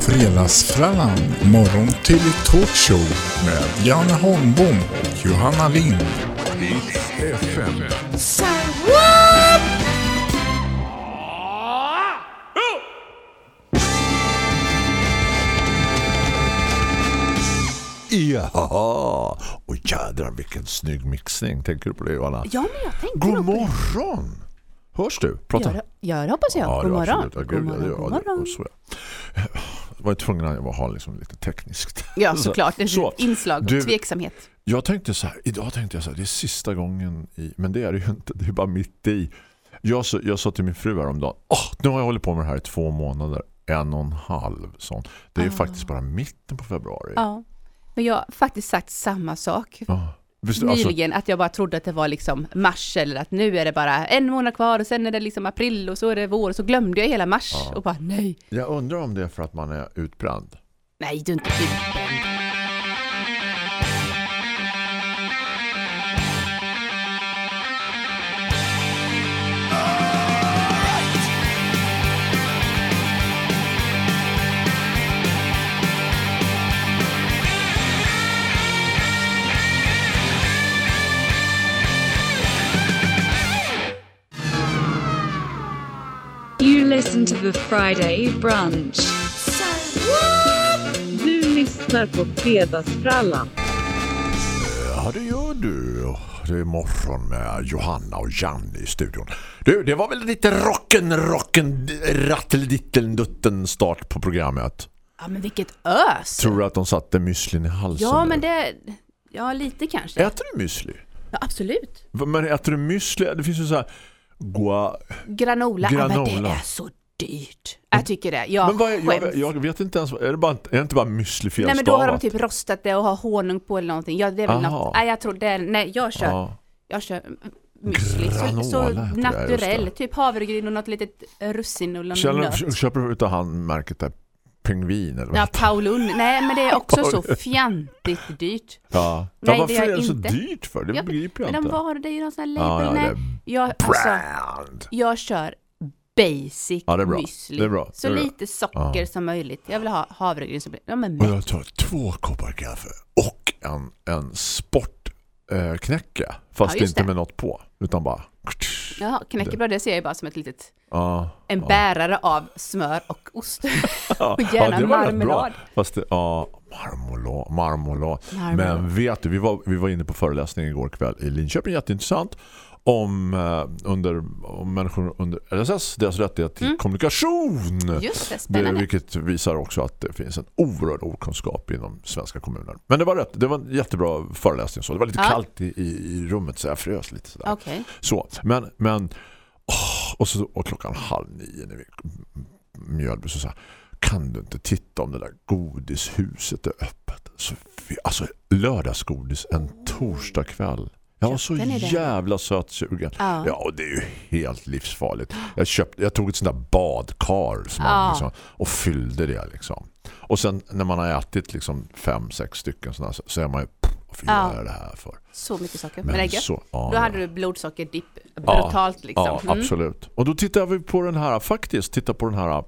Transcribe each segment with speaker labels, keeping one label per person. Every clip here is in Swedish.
Speaker 1: Fredagsfrallan, morgon till ett talkshow med Janne Holmbom och Johanna Lind. FM.
Speaker 2: Jaha! Och jädrar vilken snygg mixning. Tänker du på det Johanna?
Speaker 3: Ja, men jag tänkte
Speaker 2: God
Speaker 3: nog på
Speaker 2: morgon! Hörs du?
Speaker 3: det.
Speaker 2: Prata.
Speaker 3: Ja, det- Ja, det hoppas jag. God
Speaker 2: det var
Speaker 3: morgon.
Speaker 2: absolut. Ja,
Speaker 3: God
Speaker 2: gud, ja, det-
Speaker 3: morgon, god
Speaker 2: ja, det-
Speaker 3: morgon.
Speaker 2: och så, ja. Jag var tvungen att ha liksom lite tekniskt.
Speaker 3: Ja, såklart. Det är
Speaker 2: Så.
Speaker 3: ett inslag.
Speaker 2: Du-
Speaker 3: Tveksamhet.
Speaker 2: Jag tänkte så här, idag tänkte jag så här, det är sista gången i, men det är det ju inte, det är bara mitt i. Jag sa, jag sa till min fru häromdagen, åh, nu har jag hållit på med det här i två månader, en och en halv sån. Det
Speaker 3: Ah.
Speaker 2: är faktiskt bara mitten på februari.
Speaker 3: Ja. Men jag har faktiskt sagt samma sak.
Speaker 2: Ja. Visst, alltså,
Speaker 3: Nyligen att jag bara trodde att det var liksom mars eller att nu är det bara en månad kvar och sen är det liksom april och så är det vår och så glömde jag hela mars och bara nej,
Speaker 2: jag undrar om det är för att man är utbränd.
Speaker 3: nej du är inte typ.
Speaker 4: You listen to the Friday brunch.
Speaker 5: Du lyssnar på Fredagsfrallan.
Speaker 2: Ja, det gör du. Det är morgon med Johanna och Janne i studion. Du, det var väl lite rocken, rocken, rattelditteldutten start på programmet.
Speaker 3: Ja men vilket ös!
Speaker 2: Tror du att de satte müslin i halsen?
Speaker 3: Ja men
Speaker 2: nu?
Speaker 3: det, ja lite kanske.
Speaker 2: Äter du müsli?
Speaker 3: Ja, absolut.
Speaker 2: Va, Men äter du müsli? Det finns ju så här... Gua...
Speaker 3: Granola, Ja, men det
Speaker 2: Granola.
Speaker 3: är så dyrt. Jag tycker det, jag
Speaker 2: Men vad är, jag,
Speaker 3: skäms.
Speaker 2: jag vet inte ens... Är det, bara, är det inte bara müsli
Speaker 3: Nej
Speaker 2: felstavat?
Speaker 3: men då har de typ rostat det och har honung på eller någonting. Ja det är väl
Speaker 2: Aha.
Speaker 3: något. Nej jag tror det är, nej jag kör,
Speaker 2: Ja.
Speaker 3: jag kör mm, müsli. Så,
Speaker 2: Granola
Speaker 3: så
Speaker 2: heter det, just
Speaker 3: naturell,
Speaker 2: det.
Speaker 3: typ havregryn och något litet russin och någon nöt.
Speaker 2: Känner, köper du utav han märket där? Pingvin eller vad?
Speaker 3: Mm. Ja Paulun, nej men det är också så
Speaker 2: Paulun.
Speaker 3: fjantigt dyrt.
Speaker 2: Ja.
Speaker 3: Nej,
Speaker 2: ja, varför
Speaker 3: det gör
Speaker 2: är det så
Speaker 3: inte.
Speaker 2: dyrt för? Det
Speaker 3: Ja,
Speaker 2: begriper jag
Speaker 3: Men de
Speaker 2: inte.
Speaker 3: var det är ju någon sån här
Speaker 2: Ja,
Speaker 3: label.
Speaker 2: ja, det
Speaker 3: nej.
Speaker 2: är
Speaker 3: Jag, alltså,
Speaker 2: Brand!
Speaker 3: jag kör basic
Speaker 2: Ja, det är bra.
Speaker 3: müsli.
Speaker 2: Det är bra.
Speaker 3: Så
Speaker 2: Det är bra.
Speaker 3: lite socker
Speaker 2: Ja.
Speaker 3: som möjligt. Jag vill ha havregryn som blir, ja men
Speaker 2: Och
Speaker 3: mätt.
Speaker 2: jag tar två koppar kaffe och en, en sportknäcke. fast
Speaker 3: Ja, just
Speaker 2: inte
Speaker 3: det.
Speaker 2: med något på. Utan bara...
Speaker 3: Jaha, knäckebröd det ser jag ju bara som ett litet,
Speaker 2: Ja,
Speaker 3: en bärare av smör och ost. och
Speaker 2: ja,
Speaker 3: gärna
Speaker 2: det var rätt bra.
Speaker 3: marmelad.
Speaker 2: Fast det, ja, marmelad, marmelad.
Speaker 3: Marmelad.
Speaker 2: Men vet du, vi var, vi var inne på föreläsningen igår kväll i Linköping. Jätteintressant. Om, eh, under, om människor under LSS, deras rättighet till kommunikation.
Speaker 3: Mm. Just det,
Speaker 2: Det,
Speaker 3: spännande.
Speaker 2: vilket visar också att det finns en oerhörd okunskap inom svenska kommuner. Men det var rätt, det var en jättebra föreläsning. Så. Det var lite
Speaker 3: Ja.
Speaker 2: kallt i, i, i rummet så jag frös lite. Sådär.
Speaker 3: Okej.
Speaker 2: Så, men, men åh, och, så, och klockan halv nio när vi Mjölby så sa jag, kan du inte titta om det där godishuset är öppet? Så vi, alltså lördagsgodis en torsdag kväll. Jag var så
Speaker 3: Köpte ni det?
Speaker 2: jävla sötsugen.
Speaker 3: Ja.
Speaker 2: Ja, och det är ju helt livsfarligt. Jag, köpte, jag tog ett sånt där badkar som man
Speaker 3: Ja.
Speaker 2: liksom, och fyllde det liksom. Och sen när man har ätit liksom fem, sex stycken sådana här, så- så är man ju, "Pff, varför
Speaker 3: Ja.
Speaker 2: gör jag det här för?
Speaker 3: Så mycket socker. Men, det är gött.
Speaker 2: så, ja,
Speaker 3: Då
Speaker 2: ja.
Speaker 3: hade du blodsockerdipp brutalt liksom.
Speaker 2: Ja,
Speaker 3: Mm.
Speaker 2: absolut. Och då tittar vi på den här, faktiskt, tittar på den här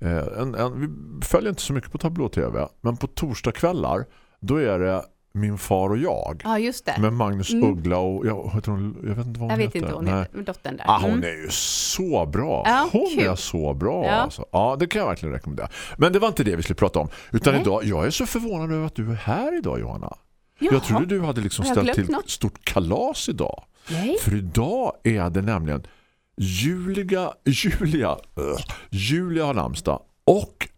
Speaker 2: eh, en, en, vi följer inte så mycket på tablå-tv, men på torsdagskvällar då är det Min far och jag
Speaker 3: Ja, just det.
Speaker 2: med Magnus Uggla och jag, heter hon, jag vet inte vad hon
Speaker 3: jag vet
Speaker 2: heter.
Speaker 3: inte vad hon
Speaker 2: Nej.
Speaker 3: heter, dottern där.
Speaker 2: Ah,
Speaker 3: Mm.
Speaker 2: hon är ju så bra.
Speaker 3: Ja,
Speaker 2: hon
Speaker 3: kul.
Speaker 2: är så bra.
Speaker 3: Ja.
Speaker 2: Alltså. Ja, det kan jag verkligen rekommendera. Men det var inte det vi skulle prata om. Utan
Speaker 3: Nej.
Speaker 2: idag, jag är så förvånad över att du är här idag, Johanna.
Speaker 3: Jaha.
Speaker 2: Jag trodde du hade liksom
Speaker 3: Har jag
Speaker 2: ställt
Speaker 3: glömt
Speaker 2: till
Speaker 3: något?
Speaker 2: ett stort kalas idag.
Speaker 3: Nej.
Speaker 2: För idag är det nämligen Julia, Julia, äh, Julia har namnsdag och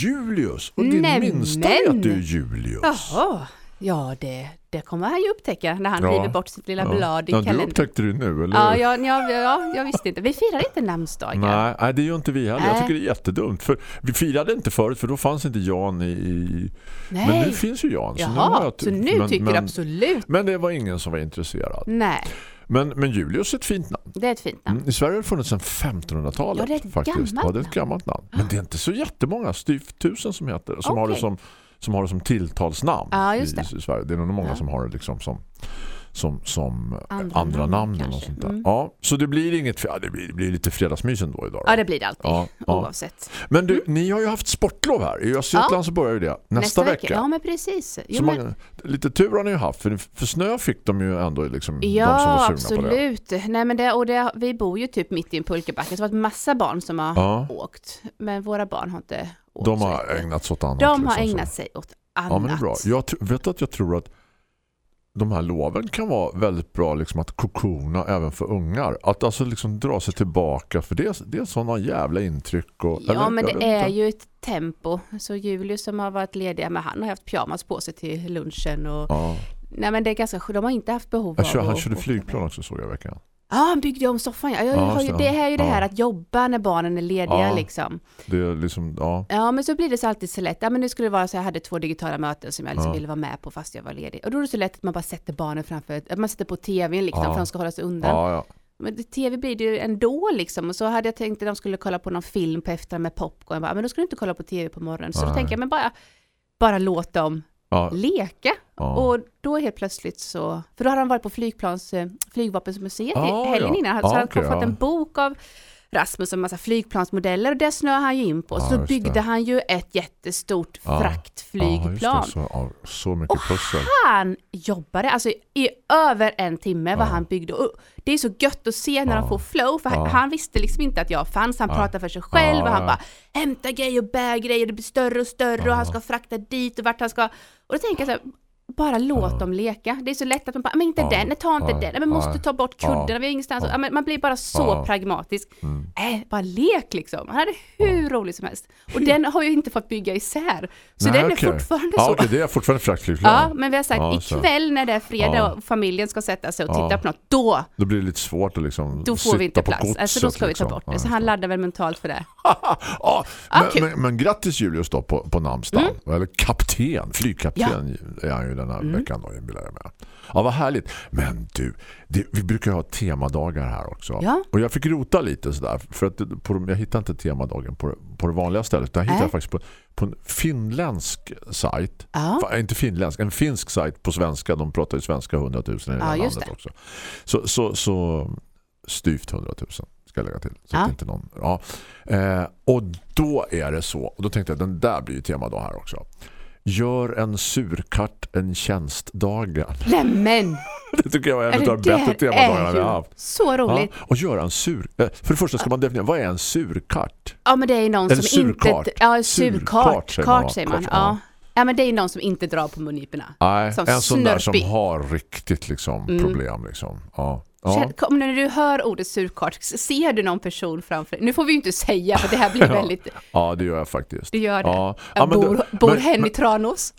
Speaker 2: Julius. Och din
Speaker 3: Nämen.
Speaker 2: minsta heter ju Julius.
Speaker 3: Jaha. Ja, det, det kommer han ju upptäcka när han
Speaker 2: Ja.
Speaker 3: river bort sitt lilla blad i
Speaker 2: ja, du
Speaker 3: kalendern.
Speaker 2: upptäckte det nu, eller
Speaker 3: ja,
Speaker 2: hur?
Speaker 3: ja, ja, ja, jag visste inte. Vi firar inte namnsdagar.
Speaker 2: Nej, nej, det gör inte vi heller. Jag
Speaker 3: Nej.
Speaker 2: tycker det är jättedumt. För vi firade inte förut, för då fanns inte Jan i... i
Speaker 3: Nej.
Speaker 2: Men nu finns ju Jan. nu har
Speaker 3: Jaha,
Speaker 2: jag-
Speaker 3: så nu
Speaker 2: men,
Speaker 3: tycker
Speaker 2: men,
Speaker 3: du absolut.
Speaker 2: Men det var ingen som var intresserad.
Speaker 3: Nej,
Speaker 2: Men, men Julius är ett fint namn.
Speaker 3: det är ett fint namn.
Speaker 2: Mm, I Sverige har det funnits sedan 1500-talet.
Speaker 3: Ja, det är ett
Speaker 2: faktiskt.
Speaker 3: gammalt
Speaker 2: ja, det är ett gammalt namn. Men det är inte så jättemånga, styvt tusen som heter som, har det
Speaker 3: Okej.
Speaker 2: som, som har det som tilltalsnamn
Speaker 3: Ja, just
Speaker 2: i,
Speaker 3: det.
Speaker 2: i Sverige. Det är nog många som har det liksom som som, som andra,
Speaker 6: Andra
Speaker 2: andra
Speaker 6: namn
Speaker 2: namn eller
Speaker 6: kanske.
Speaker 2: något sånt där.
Speaker 3: Mm.
Speaker 2: Ja, så det blir inget ja, det, blir, det blir lite fredagsmys ändå idag. då.
Speaker 3: Ja, det blir det alltid.
Speaker 2: Ja, ja.
Speaker 3: Oavsett.
Speaker 2: Men du,
Speaker 3: Mm.
Speaker 2: ni har ju haft sportlov här. I Östergötland så börjar ju det nästa, vecka.
Speaker 3: Ja, men precis. Jo,
Speaker 2: så
Speaker 3: men-
Speaker 2: många, lite tur har ni ju haft, för, för snö fick de ju ändå liksom, de som
Speaker 3: Ja,
Speaker 2: var sugna på det.
Speaker 3: absolut. Nej, men det, och det, vi bor ju typ mitt i en pulkebacke, så det har varit massa barn som har
Speaker 2: Ja.
Speaker 3: åkt. Men våra barn har inte åkt.
Speaker 2: De
Speaker 3: så
Speaker 2: har
Speaker 3: mycket.
Speaker 2: ägnat sig åt annat.
Speaker 3: de har
Speaker 2: liksom, så.
Speaker 3: ägnat sig åt annat.
Speaker 2: Ja, men det är bra. Jag tr- vet att jag tror att de här loven kan vara väldigt bra liksom, att kokona även för ungar. Att alltså liksom dra sig tillbaka för det, är- det är sådana jävla intryck. Och,
Speaker 3: Ja,
Speaker 2: eller,
Speaker 3: men
Speaker 2: jag
Speaker 3: det
Speaker 2: vet
Speaker 3: är
Speaker 2: inte.
Speaker 3: ju ett tempo. Så Julius som har varit lediga med han har haft pyjamas på sig till lunchen. Och,
Speaker 2: Ja.
Speaker 3: Nej, men det är ganska skönt. De har inte haft behov
Speaker 2: Jag kör,
Speaker 3: av
Speaker 2: han
Speaker 3: att
Speaker 2: körde
Speaker 3: åka
Speaker 2: flygplan också såg jag i veckan.
Speaker 3: Ja, han byggde om soffan. Ja, jag
Speaker 2: Ja,
Speaker 3: har ju,
Speaker 2: så-
Speaker 3: det här är ju det
Speaker 2: ja.
Speaker 3: här att jobba när barnen är lediga
Speaker 2: Ja.
Speaker 3: liksom.
Speaker 2: Det är liksom, ja.
Speaker 3: Ja, men så blir det så alltid så lätt. Ja, men nu skulle det vara så jag hade två digitala möten som jag liksom
Speaker 2: Ja.
Speaker 3: ville vara med på fast jag var ledig. Och då är det så lätt att man bara sätter barnen framför, att man sätter på tvn liksom
Speaker 2: Ja.
Speaker 3: för att de ska hålla sig undan.
Speaker 2: Ja, ja.
Speaker 3: Men det- tv blir det ju ändå liksom. Och så hade jag tänkt att de skulle kolla på någon film på eftermiddagen med popcorn. Jag Bara, men då skulle du inte kolla på tv på morgonen. Så då
Speaker 2: Nej.
Speaker 3: tänker jag, men bara, bara låt dem
Speaker 2: ja.
Speaker 3: leka.
Speaker 2: Ja.
Speaker 3: Och då helt plötsligt så, för då hade han varit på flygplans, eh, flygvapenmuseet
Speaker 2: Ah,
Speaker 3: i helgen
Speaker 2: ja.
Speaker 3: innan, så
Speaker 2: Ah,
Speaker 3: hade han
Speaker 2: okej,
Speaker 3: fått
Speaker 2: ja.
Speaker 3: en bok av Rasmus om massa flygplansmodeller och det snöade han ju in på.
Speaker 2: Ja,
Speaker 3: så
Speaker 2: Ah, just
Speaker 3: byggde
Speaker 2: det.
Speaker 3: han ju ett jättestort
Speaker 2: Ja. Ja,
Speaker 3: fraktflygplan.
Speaker 2: just det, så, ja, så mycket pussel.
Speaker 3: han jobbade alltså i över en timme vad han byggde. Och det är så gött att se när han får flow, för han, han visste liksom inte att jag fanns. Han pratade för sig själv
Speaker 2: Ja,
Speaker 3: och han
Speaker 2: ja.
Speaker 3: bara hämta grejer och bär grejer, det blir större och större och han ska frakta dit och vart han ska. Och då tänker jag så här, bara låt dem leka. Det är så lätt att man bara, "Ah, men inte den, nej ta inte
Speaker 2: Ja.
Speaker 3: den, nej men måste
Speaker 2: Ja.
Speaker 3: ta bort kuddarna, vi har ingenstans. Ja. men man blir bara så
Speaker 2: Ja. Mm.
Speaker 3: pragmatisk. Äh, bara lek liksom. Han hade hur roligt som helst. Och den har ju inte fått bygga isär. Så
Speaker 2: Nej,
Speaker 3: den är
Speaker 2: okej.
Speaker 3: fortfarande
Speaker 2: ja,
Speaker 3: så.
Speaker 2: okej, det är fortfarande fraktflygplan.
Speaker 3: Ja, men vi har sagt
Speaker 2: Ja, så.
Speaker 3: ikväll när det är fredag
Speaker 2: Ja.
Speaker 3: och familjen ska sätta sig och
Speaker 2: Ja.
Speaker 3: titta på något, då,
Speaker 2: Då blir det lite svårt att liksom
Speaker 3: då får
Speaker 2: sitta
Speaker 3: vi inte
Speaker 2: på
Speaker 3: plats. Alltså då
Speaker 2: godset,
Speaker 3: ska vi ta
Speaker 2: liksom.
Speaker 3: bort
Speaker 2: Ja,
Speaker 3: det. Så
Speaker 2: just
Speaker 3: han laddar väl mentalt för det.
Speaker 2: ja, men,
Speaker 3: kul. Mm.
Speaker 2: men, men grattis Julius då på, på namnsdagen. Eller kapten, flygkapten är han ju den här veckan då, inbillar jag med. Ja, vad härligt. Men du, det, vi brukar ju ha temadagar här också.
Speaker 3: Ja.
Speaker 2: Och jag fick rota lite sådär. För att det- på, de- jag hittade inte temadagen på, det- på det vanliga stället. Jag hittade
Speaker 3: Nej.
Speaker 2: jag faktiskt på, på en finländsk sajt.
Speaker 3: Ja.
Speaker 2: Fa- Inte finländsk, en finsk sajt på svenska. De pratar ju svenska hundratusen i det
Speaker 3: Ja,
Speaker 2: här
Speaker 3: just
Speaker 2: landet
Speaker 3: det.
Speaker 2: också. Så, så, så styvt 100 000 ska jag lägga till. Så att
Speaker 3: Ja.
Speaker 2: det inte någon, ja. eh, och då är det så. Och då tänkte jag, den där blir ju tema då här också. Gör en surkart en tjänstdagen.
Speaker 3: Nämen!
Speaker 2: Det tycker jag var en
Speaker 3: Är
Speaker 2: av de
Speaker 3: det
Speaker 2: bättre
Speaker 3: där
Speaker 2: temadagarna
Speaker 3: är
Speaker 2: vi har
Speaker 3: ju
Speaker 2: haft.
Speaker 3: så
Speaker 2: Ja,
Speaker 3: roligt.
Speaker 2: och göra en sur... eh, För det första ska man definiera, vad är en surkart?
Speaker 3: Ja, men det är ju någon
Speaker 2: Eller
Speaker 3: som
Speaker 2: surkart.
Speaker 3: inte... Ja, surkart.
Speaker 2: Surkart
Speaker 3: Kart säger
Speaker 2: säger
Speaker 3: man.
Speaker 2: man,
Speaker 3: säger
Speaker 2: ja.
Speaker 3: man.
Speaker 2: Kart,
Speaker 3: Ja.
Speaker 2: ja.
Speaker 3: ja, men det är ju någon som inte drar på mungiporna.
Speaker 2: Nej,
Speaker 3: Som
Speaker 2: en sån där som
Speaker 3: snörpig. Mm.
Speaker 2: har riktigt liksom problem. Liksom. Ja. Ja.
Speaker 3: Känn- Om när du hör ordet surkart, s- ser du någon person framför dig? Nu får vi ju inte säga, för det här blir väldigt...
Speaker 2: ja, det gör jag faktiskt.
Speaker 3: Du gör det.
Speaker 2: Ja. Ja,
Speaker 3: Jag
Speaker 2: men
Speaker 3: bor,
Speaker 2: du-
Speaker 3: bor
Speaker 2: men-
Speaker 3: hem
Speaker 2: men-
Speaker 3: i Tranås.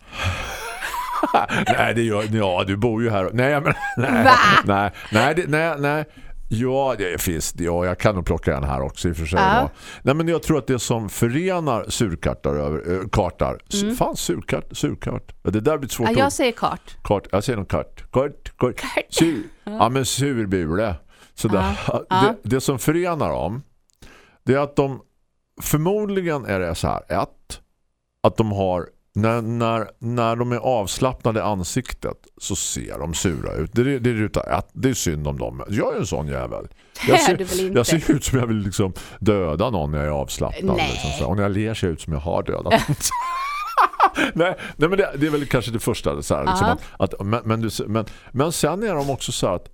Speaker 2: Nej, det gör, ja, du bor ju här. Nej, men, nej,
Speaker 3: Va?
Speaker 2: nej, nej, det, nej, nej. Ja, det finns. Ja, jag kan nog plocka en här också i och för sig.
Speaker 3: Ja.
Speaker 2: då. Nej, men jag tror att det som förenar surkartar över äh, kartar. Mm. Fan, surkart, surkart. Ja, Det där blir ett svårt
Speaker 3: Ja,
Speaker 2: ord.
Speaker 3: jag säger kart.
Speaker 2: Kart, jag säger nog kart. Kart, kart. Sur. Ja, men surbule. Så där.
Speaker 3: Ja.
Speaker 2: Det, det som förenar dem det är att de förmodligen är det så här ett, att de har när, när, när de är avslappnade i ansiktet så ser de sura ut. Det är, det är ruta ett. Det är synd om dem. Jag är en sån jävel. Jag
Speaker 3: är du väl inte?
Speaker 2: jag ser ut som jag vill liksom döda någon när jag är avslappnad.
Speaker 3: Nej.
Speaker 2: Liksom, så. här. Och när jag ler ser jag ut som jag har dödat någon. Nej, nej men det, det är väl kanske det första så här, liksom
Speaker 3: Ja.
Speaker 2: att, att, men, men, du, men, men sen är de också så här att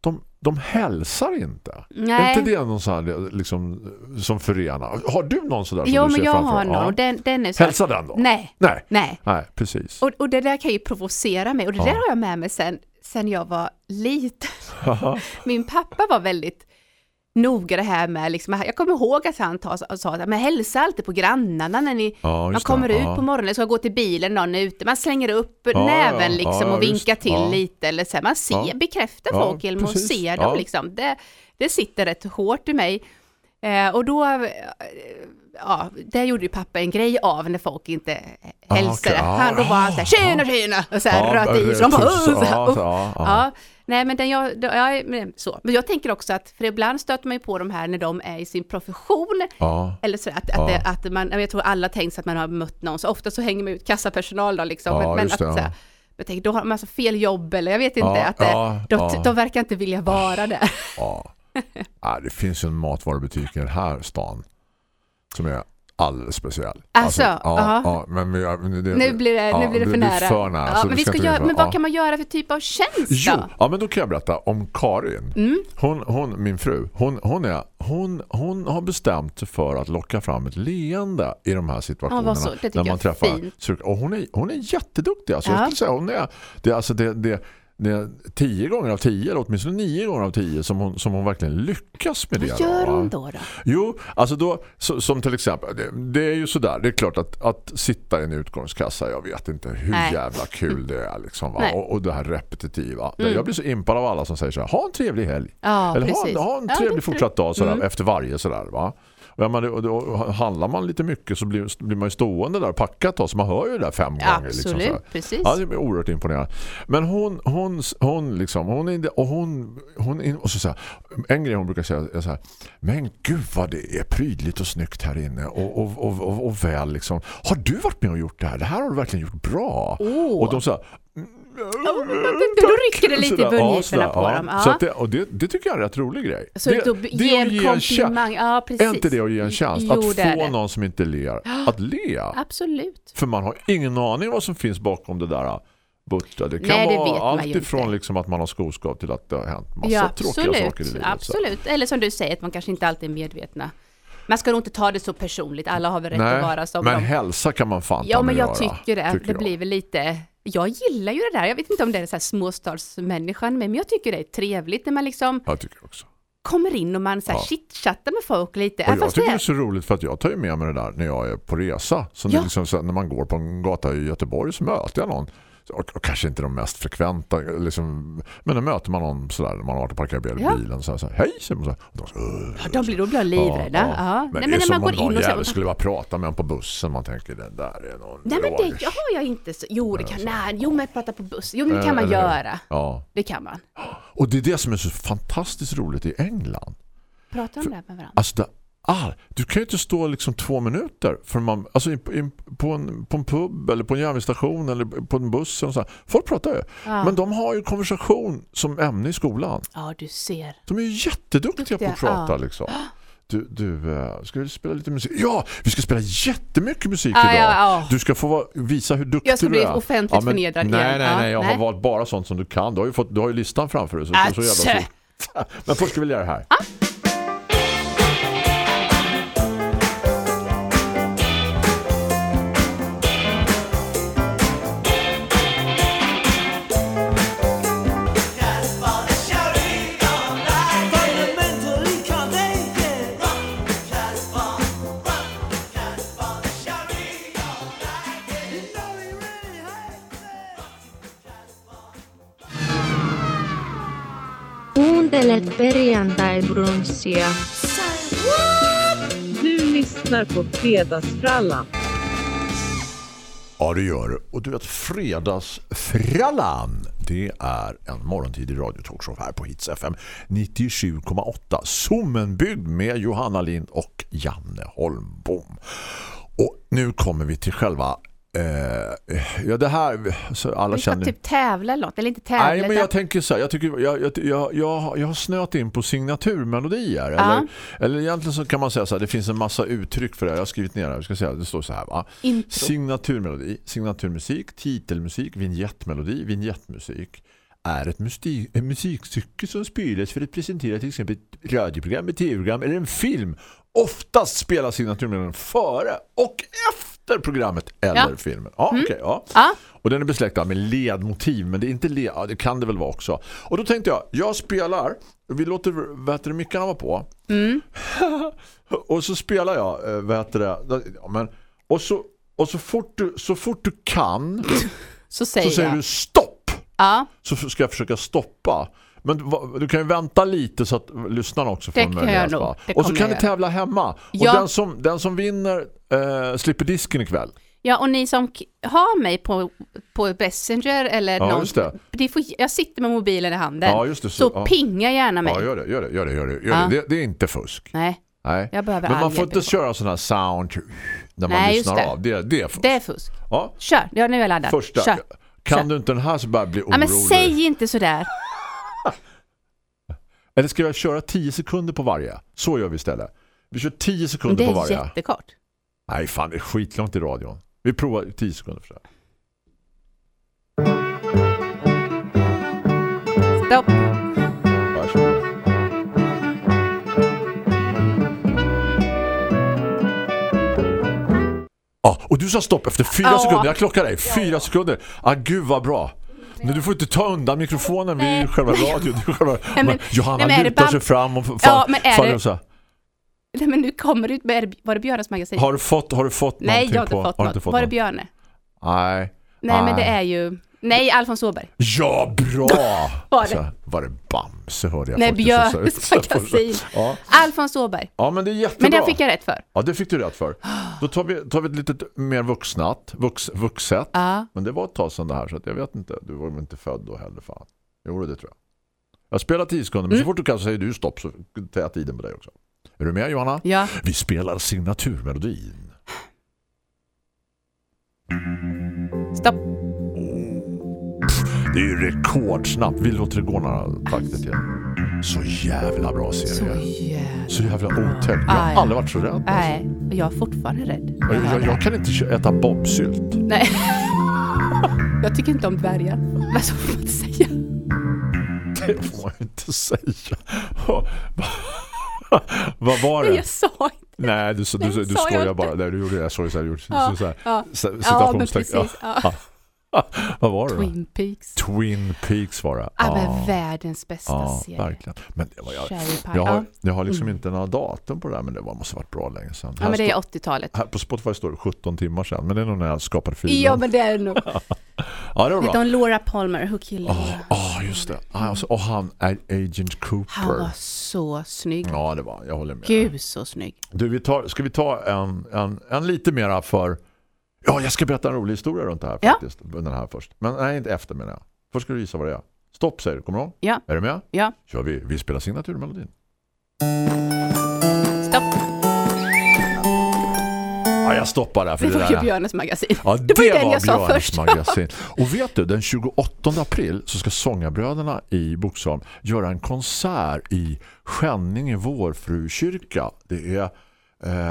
Speaker 2: de, de hälsar inte.
Speaker 3: Nej.
Speaker 2: Är inte det någon så här, liksom, som förenar? Har du någon sådär som
Speaker 3: Jo,
Speaker 2: du
Speaker 3: men
Speaker 2: ser
Speaker 3: jag
Speaker 2: framför?
Speaker 3: har någon.
Speaker 2: Ja.
Speaker 3: Och den, den är så här-
Speaker 2: Hälsa den då?
Speaker 3: Nej.
Speaker 2: Nej,
Speaker 3: Nej.
Speaker 2: Nej, precis.
Speaker 3: Och, och det där kan ju provocera mig och det där har jag med mig sen, sen jag var liten. Min pappa var väldigt noga det här med, liksom, jag kommer ihåg att han ta, sa att men hälsa alltid på grannarna när ni
Speaker 2: Ja, just
Speaker 3: man kommer
Speaker 2: det,
Speaker 3: ut
Speaker 2: ja.
Speaker 3: på morgonen, ska gå till bilen, någon är ute, man slänger upp
Speaker 2: ja,
Speaker 3: näven
Speaker 2: ja,
Speaker 3: liksom
Speaker 2: ja,
Speaker 3: och vinkar
Speaker 2: visst,
Speaker 3: till
Speaker 2: ja.
Speaker 3: lite eller så här, man ser,
Speaker 2: Ja.
Speaker 3: bekräftar
Speaker 2: Ja,
Speaker 3: folk genom att
Speaker 2: precis,
Speaker 3: se dem
Speaker 2: ja.
Speaker 3: liksom. Det, det sitter rätt hårt i mig. Eh, och då ja, det gjorde ju pappa en grej av när folk inte hälsade.
Speaker 2: okej. Ah,
Speaker 3: han, då var han såhär, tjena, tjena! Och såhär röt i sig. De bara,
Speaker 2: Ja,
Speaker 3: "Åh", så här,
Speaker 2: ja,
Speaker 3: upp.
Speaker 2: ja, ja.
Speaker 3: Ja, nej men den jag, då- jag, men så. Men jag tänker också att, för ibland stöter man ju på de här när de är i sin profession,
Speaker 2: Ja.
Speaker 3: eller så att, att, det, att man, jag tror alla tänker sig att man har mött någon, så ofta så hänger man ut kassapersonal då liksom.
Speaker 2: Ja,
Speaker 3: men, men
Speaker 2: just
Speaker 3: att,
Speaker 2: det, ja.
Speaker 3: så här, Jag tänker, då har de alltså fel jobb eller jag vet inte.
Speaker 2: Ja,
Speaker 3: att det,
Speaker 2: ja,
Speaker 3: de,
Speaker 2: ja.
Speaker 3: de verkar inte vilja vara där.
Speaker 2: Ja. ja, det finns ju en matvarubutik i den här stan som är alldeles speciell.
Speaker 3: Alltså,
Speaker 2: ja,
Speaker 3: aha.
Speaker 2: ja, men vi- men det,
Speaker 3: Nu blir det,
Speaker 2: ja,
Speaker 3: nu blir det för nära.
Speaker 2: för nära.
Speaker 3: ja,
Speaker 2: så
Speaker 3: men,
Speaker 2: vi
Speaker 3: vi ska
Speaker 2: inte
Speaker 3: göra,
Speaker 2: gå in på-
Speaker 3: men vad
Speaker 2: ja.
Speaker 3: kan man göra för typ av tjänst
Speaker 2: Jo,
Speaker 3: då?
Speaker 2: ja, men då kan jag berätta om Karin.
Speaker 3: Mm.
Speaker 2: Hon, hon, min fru, hon, hon, är, hon, hon har bestämt sig för att locka fram ett leende i de här situationerna.
Speaker 3: Ja, vad så- det tycker jag
Speaker 2: när man
Speaker 3: är
Speaker 2: träffar
Speaker 3: fint.
Speaker 2: sur- och hon är, hon är jätteduktig. Alltså, jag
Speaker 3: Ja.
Speaker 2: skulle säga, hon är, det, är alltså, det, det, det är tio gånger av tio, eller åtminstone nio gånger av tio, som hon, som hon verkligen lyckas med det.
Speaker 3: Vad gör
Speaker 2: va?
Speaker 3: hon då? då?
Speaker 2: Jo, alltså då, så, som till exempel, det, det är ju sådär, det är klart att, att sitta i en utgångskassa, jag vet inte hur
Speaker 3: Nej.
Speaker 2: jävla kul det är liksom, va?
Speaker 3: Nej. Mm.
Speaker 2: Och, och det här repetitiva. Jag blir så impad av alla som säger så här, ha en trevlig helg.
Speaker 3: Ja,
Speaker 2: Eller ha, en-
Speaker 3: precis.
Speaker 2: ha en
Speaker 3: Ja,
Speaker 2: trevlig
Speaker 3: det är Mm.
Speaker 2: fortsatt dag sådär, efter varje sådär va. Och, jag menar, och då handlar man lite mycket så blir, blir man ju stående där och packat då, så man hör ju det där fem gånger. Liksom,
Speaker 3: Absolut,
Speaker 2: sådär.
Speaker 3: precis.
Speaker 2: Ja, det är oerhört imponerande. Men hon, hon, hon liksom, hon är inte, och hon, hon är, och så så här, en grej hon brukar säga är så här, men gud vad det är prydligt och snyggt här inne och, och, och, och, och väl liksom. Har du varit med och gjort det här? Det här har du verkligen gjort bra. Och de så här,
Speaker 3: Då rycker det lite i
Speaker 2: Sådär, ja, sådär,
Speaker 3: mungiporna på
Speaker 2: ja.
Speaker 3: dem.
Speaker 2: Så
Speaker 3: Ja.
Speaker 2: att det, och det, det tycker jag är en rätt rolig grej.
Speaker 3: Så
Speaker 2: det,
Speaker 3: då
Speaker 2: det är
Speaker 3: ge
Speaker 2: att
Speaker 3: en
Speaker 2: en chans.
Speaker 3: komplimang. Ja, precis.
Speaker 2: Är inte det att ge en chans?
Speaker 3: Jo,
Speaker 2: att
Speaker 3: det är
Speaker 2: få
Speaker 3: det.
Speaker 2: någon som inte ler att le.
Speaker 3: Absolut.
Speaker 2: För man har ingen aning vad som finns bakom det där borta. Det kan
Speaker 3: Nej, det vet
Speaker 2: vara
Speaker 3: man ju
Speaker 2: allt
Speaker 3: inte.
Speaker 2: ifrån liksom att man har skoskav till att det har hänt massa
Speaker 3: ja,
Speaker 2: tråkiga saker i
Speaker 3: absolut.
Speaker 2: livet. så.
Speaker 3: absolut. Eller som du säger, att man kanske inte alltid är medvetna. Man ska nog inte ta det så personligt. Alla har väl rätt
Speaker 2: Nej,
Speaker 3: att vara som
Speaker 2: men
Speaker 3: de.
Speaker 2: hälsa kan man fan ta
Speaker 3: Ja, men
Speaker 2: med
Speaker 3: jag
Speaker 2: göra,
Speaker 3: tycker det.
Speaker 2: tycker
Speaker 3: det
Speaker 2: jag.
Speaker 3: blir väl lite... Jag gillar ju det där. Jag vet inte om det är så här småstadsmänniskan, men jag tycker det är trevligt när man liksom
Speaker 2: Jag tycker jag också.
Speaker 3: kommer in och man så här
Speaker 2: Ja.
Speaker 3: chitchattar med folk lite.
Speaker 2: Och
Speaker 3: Även
Speaker 2: jag
Speaker 3: fast det
Speaker 2: tycker det är
Speaker 3: är...
Speaker 2: så roligt för att jag tar ju med mig det där när jag är på resa. Så när,
Speaker 3: Ja.
Speaker 2: liksom, så här, när man går på en gata i Göteborg så möter jag någon. Så- Och, och kanske inte de mest frekventa. Liksom, men då möter man någon sådär när man har varit och parkerat bil,
Speaker 3: Ja.
Speaker 2: bilen. Så här, så här, Hej! säger man Så här, och de, så, "Åh."
Speaker 3: Ja, de blir, då blir jag livrädda. Ja, Nej,
Speaker 2: Men det är som om någon jävel
Speaker 3: så-
Speaker 2: skulle bara prata med en på bussen. Man tänker, den där är någon
Speaker 3: Nej men det
Speaker 2: lagers."
Speaker 3: har jag inte så. Jo det kan, nej, jo men prata på buss. Jo men det kan man
Speaker 2: Eller hur?
Speaker 3: göra.
Speaker 2: Ja.
Speaker 3: Det kan man.
Speaker 2: Och det är det som är så fantastiskt roligt i England.
Speaker 3: Prata om det här med varandra.
Speaker 2: Alltså det, all, du kan ju inte stå liksom två minuter för man, alltså in, in, på, en, på en pub eller på en järnvägsstation eller på en buss och så här. Folk pratar ju. Men de har ju konversation som ämne i skolan.
Speaker 3: Ja du ser.
Speaker 2: De är ju jätteduktiga
Speaker 3: Duktiga,
Speaker 2: på att prata
Speaker 3: ja.
Speaker 2: liksom. Du, du eh, ska vi spela lite musik? Ja, vi ska spela jättemycket musik
Speaker 3: Ja,
Speaker 2: idag.
Speaker 3: ja, ja.
Speaker 2: Du ska få vara- visa hur duktig
Speaker 3: Jag ska
Speaker 2: du är.
Speaker 3: bli offentligt
Speaker 2: men-
Speaker 3: förnedrad
Speaker 2: Nej,
Speaker 3: igen.
Speaker 2: nej,
Speaker 3: Ja,
Speaker 2: nej. Jag har
Speaker 3: nej.
Speaker 2: valt bara sånt som du kan. Du har ju, fått, du har ju listan framför dig. Så, så
Speaker 3: Alltså.
Speaker 2: jävla fort. Men först ska vi göra det här.
Speaker 6: Kuuntelet perjantai-brunssia.
Speaker 5: Du lyssnar på Fredagsfrallan.
Speaker 2: Ja, det gör det. Och du vet, fredagsfrallan, det är en morgontidig radiotalkshow här på Hits FM 97,8. Zoomen byggd med Johanna Lind och Janne Holmbom. Och nu kommer vi till själva... Eh, ja, det här... Så alla
Speaker 3: Vi ska
Speaker 2: känner...
Speaker 3: typ tävla eller något. Eller inte tävla.
Speaker 2: Nej, men
Speaker 3: utan-
Speaker 2: jag tänker så här, jag, tycker, jag, jag, jag, jag, har- jag har snöat in på signaturmelodier. Eller, eller egentligen så kan man säga så här, det finns en massa uttryck för det. här. Jag har skrivit ner det här, vi ska säga, det står så här va?
Speaker 3: Intro.
Speaker 2: Signaturmelodi, signaturmusik, titelmusik, vignettmelodi, vignettmusik är ett musti- ett musikstycke som spelas för att presentera till exempel ett radioprogram, ett tv-program eller en film. Oftast spelas signaturmelodin före och efter programmet eller
Speaker 3: Ja. Mm.
Speaker 2: filmen. Ja, okej, ja.
Speaker 3: Ja.
Speaker 2: Och den är besläktad med ledmotiv, men det är inte led, ja, det kan det väl vara också. Och då tänkte jag, jag spelar, vi låter vätermickarna vara på. och så spelar jag, eh, vad heter det, ja, men, och, så, och så, fort du, så fort du kan
Speaker 3: Så säger,
Speaker 2: så säger
Speaker 3: jag.
Speaker 2: du stopp.
Speaker 3: Ja,
Speaker 2: Så f- ska jag försöka stoppa. Men du- va- du kan ju vänta lite så att lyssnarna också får
Speaker 3: Det
Speaker 2: en
Speaker 3: kan
Speaker 2: möjlighet,
Speaker 3: jag nog.
Speaker 2: va?
Speaker 3: Det
Speaker 2: Och så
Speaker 3: kommer
Speaker 2: kan ni
Speaker 3: jag
Speaker 2: tävla hemma. Och
Speaker 3: Ja.
Speaker 2: den, som, den som vinner eh, slipper disken ikväll.
Speaker 3: ja, och ni som k- har mig på, på Messenger eller
Speaker 2: Ja,
Speaker 3: någon.
Speaker 2: just det.
Speaker 3: ni får, jag sitter med mobilen i handen.
Speaker 2: Ja, just det, så-
Speaker 3: så
Speaker 2: ja.
Speaker 3: pinga gärna mig.
Speaker 2: Ja, gör det, gör det, gör det, gör det. Gör
Speaker 3: Ja.
Speaker 2: det. det. Det är inte fusk.
Speaker 3: Nej,
Speaker 2: Nej.
Speaker 3: Jag behöver
Speaker 2: Men
Speaker 3: all
Speaker 2: man får
Speaker 3: hjälp
Speaker 2: inte
Speaker 3: jag får.
Speaker 2: köra sådana här sound när man
Speaker 3: Nej, just
Speaker 2: lyssnar
Speaker 3: det.
Speaker 2: av. Det, det är fusk.
Speaker 3: det är fusk.
Speaker 2: Ja.
Speaker 3: Kör, ja, nu är jag laddad.
Speaker 2: Första.
Speaker 3: Kör.
Speaker 2: Kan du inte den här så bara bli
Speaker 3: Ja,
Speaker 2: orolig.
Speaker 3: men säg inte sådär.
Speaker 2: Eller ska jag köra 10 sekunder på varje? Så gör vi istället. Vi kör 10
Speaker 3: Men det
Speaker 2: sekunder på
Speaker 3: är
Speaker 2: varje.
Speaker 3: jättekort.
Speaker 2: Nej fan, det är skitlångt i radion. Vi provar 10 sekunder för sig.
Speaker 3: Stopp.
Speaker 2: Varsågod. Ja, Ah, och du sa stopp efter fyra
Speaker 3: Ja.
Speaker 2: sekunder. Jag klockar dig. Fyra sekunder. Ah, gud vad bra. Men du får inte ta undan mikrofonen vid själva radion. Det är Själva...
Speaker 3: men-
Speaker 2: men, Johanna
Speaker 3: nej, men är det
Speaker 2: lutar
Speaker 3: bam-
Speaker 2: sig fram och fan,
Speaker 3: Ja, men är
Speaker 2: fan,
Speaker 3: det-
Speaker 2: och så här,
Speaker 3: Nej, men nu kommer du ut. med- Var det Björnes magasin?
Speaker 2: har du fått, har du fått
Speaker 3: Nej, jag har inte
Speaker 2: någonting på...
Speaker 3: fått
Speaker 2: har du
Speaker 3: något.
Speaker 2: inte fått
Speaker 3: var det
Speaker 2: något? Ah.
Speaker 3: Björne?
Speaker 2: Nej.
Speaker 3: Nej, men det
Speaker 2: Nej.
Speaker 3: är ju... Nej, Alfons Åberg.
Speaker 2: Ja, bra!
Speaker 3: Var det?
Speaker 2: Så, var det Bamse hörde jag
Speaker 3: Nej,
Speaker 2: faktiskt. Så-
Speaker 3: Björnes
Speaker 2: så- så-
Speaker 3: magasin.
Speaker 2: Ja.
Speaker 3: Alfons Åberg.
Speaker 2: ja, men det är jättebra.
Speaker 3: Men det fick jag rätt för.
Speaker 2: Ja, det fick du rätt för. Då tar vi, tar vi ett lite mer vuxnat, vux, vuxet.
Speaker 3: Ja.
Speaker 2: Men det var ett tag sedan det här så att jag vet inte. Du var väl inte född då heller fan. Jo, det tror jag. Jag spelar 10 sekunder,
Speaker 3: Mm.
Speaker 2: men så fort du kan så säger du stopp så tar jag tiden på dig också. Är du med Johanna?
Speaker 3: Ja.
Speaker 2: Vi spelar signaturmelodin.
Speaker 3: Stopp.
Speaker 2: Det är ju rekordsnabbt. Vi låter det gå några takter till. Så jävla bra
Speaker 3: Så
Speaker 2: serie.
Speaker 3: jävla...
Speaker 2: Så jävla otäckt. Jag
Speaker 3: Aj.
Speaker 2: har aldrig varit så rädd. Alltså.
Speaker 3: Nej, och jag är fortfarande rädd.
Speaker 2: Jag, jag, jag kan inte kö- äta bombsylt.
Speaker 3: Nej. Jag tycker inte om dvärgar. Men så får man inte säga.
Speaker 2: Det får man ju inte säga. Vad var
Speaker 3: Men
Speaker 2: det?
Speaker 3: jag sa inte.
Speaker 2: Nej, du, du,
Speaker 3: Nej,
Speaker 2: du, du
Speaker 3: sa jag
Speaker 2: skojar
Speaker 3: inte.
Speaker 2: bara. Nej, du gjorde det. Jag såg så här. Gjorde,
Speaker 3: Ja,
Speaker 2: så, så här.
Speaker 3: ja.
Speaker 2: S-
Speaker 3: Ja, men
Speaker 2: citationstecken.
Speaker 3: precis. Ja.
Speaker 2: Vad var det då?
Speaker 3: Twin Peaks.
Speaker 2: Twin Peaks var det.
Speaker 3: Ja, men världens bästa
Speaker 2: Ah. ja
Speaker 3: serie.
Speaker 2: verkligen. Men det var, jag,
Speaker 3: Cherry Pie.
Speaker 2: jag,
Speaker 3: Ja. Mm.
Speaker 2: har, jag har liksom inte några datum på det här, men det var, måste ha varit bra länge sedan.
Speaker 3: ja,
Speaker 2: Här
Speaker 3: men det är
Speaker 2: står-
Speaker 3: 80-talet.
Speaker 2: här på Spotify står det 17 timmar sedan, men det är nog när jag skapade filen.
Speaker 3: Ja, men det är det nog.
Speaker 2: ja det var
Speaker 3: Hette
Speaker 2: bra.
Speaker 3: hon Laura Palmer? Who killed
Speaker 2: Ja,
Speaker 3: Laura?
Speaker 2: ah, just det. Ah, alltså, och han är Agent Cooper.
Speaker 3: Han var så snygg.
Speaker 2: Ja, det var. Jag håller med.
Speaker 3: Gud så snygg.
Speaker 2: Du, vi tar, ska vi ta en, en, en lite mera för... Ja, jag ska berätta en rolig historia runt det här
Speaker 3: Ja.
Speaker 2: faktiskt. Den här först. Men nej, inte efter menar jag. Först ska du gissa vad det är. Stopp säger du, kommer du ihåg?
Speaker 3: Ja.
Speaker 2: Är du med?
Speaker 3: Ja,
Speaker 2: Kör vi, vi spelar signaturmelodin.
Speaker 3: stopp.
Speaker 2: Ja, jag stoppar där för
Speaker 3: Det
Speaker 2: det,
Speaker 3: var ju
Speaker 2: där.
Speaker 3: Björnes magasin.
Speaker 2: Ja,
Speaker 3: det var ju den jag sa
Speaker 2: Björns
Speaker 3: först.
Speaker 2: magasin. Och vet du, den 28 april så ska Sångarbröderna i Boksholm göra en konsert i Skänninge vårfrukyrka. Det är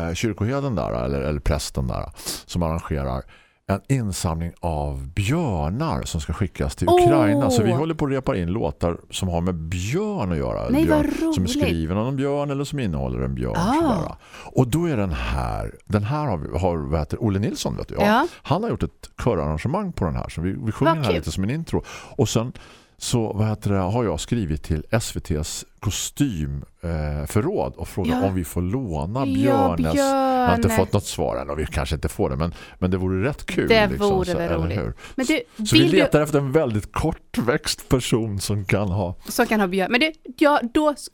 Speaker 2: eh, kyrkoherden där, eller, eller prästen där, som arrangerar en insamling av björnar som ska skickas till
Speaker 3: Åh!
Speaker 2: Ukraina. Så vi håller på att repa in låtar som har med björn att göra.
Speaker 3: Nej, vad
Speaker 2: björn, som är
Speaker 3: roligt.
Speaker 2: skriven av en björn eller som innehåller en björn.
Speaker 3: Ah.
Speaker 2: Sådär. Och då är den här, den här har, vi- har vad heter, Olle Nilsson vet du, ja.
Speaker 3: Ja.
Speaker 2: Han har gjort ett körarrangemang på den här. Så vi, vi sjunger
Speaker 3: Vad
Speaker 2: den här
Speaker 3: kul.
Speaker 2: lite som en intro. Och sen så vad heter det, har jag skrivit till SVTs kostymförråd eh, förråd och frågat
Speaker 3: Ja.
Speaker 2: om vi får låna
Speaker 3: Ja,
Speaker 2: Björnes. Jag har inte
Speaker 3: Björne.
Speaker 2: fått något svar än och vi kanske inte får det. Men, men det vore rätt kul.
Speaker 3: Det
Speaker 2: liksom,
Speaker 3: vore
Speaker 2: så-
Speaker 3: väl
Speaker 2: eller
Speaker 3: roligt.
Speaker 2: hur?
Speaker 3: Men du,
Speaker 2: Så vi
Speaker 3: vill du
Speaker 2: letar efter en väldigt kortväxt person som kan ha...
Speaker 3: som kan ha Björn. Men du, ja, då, s-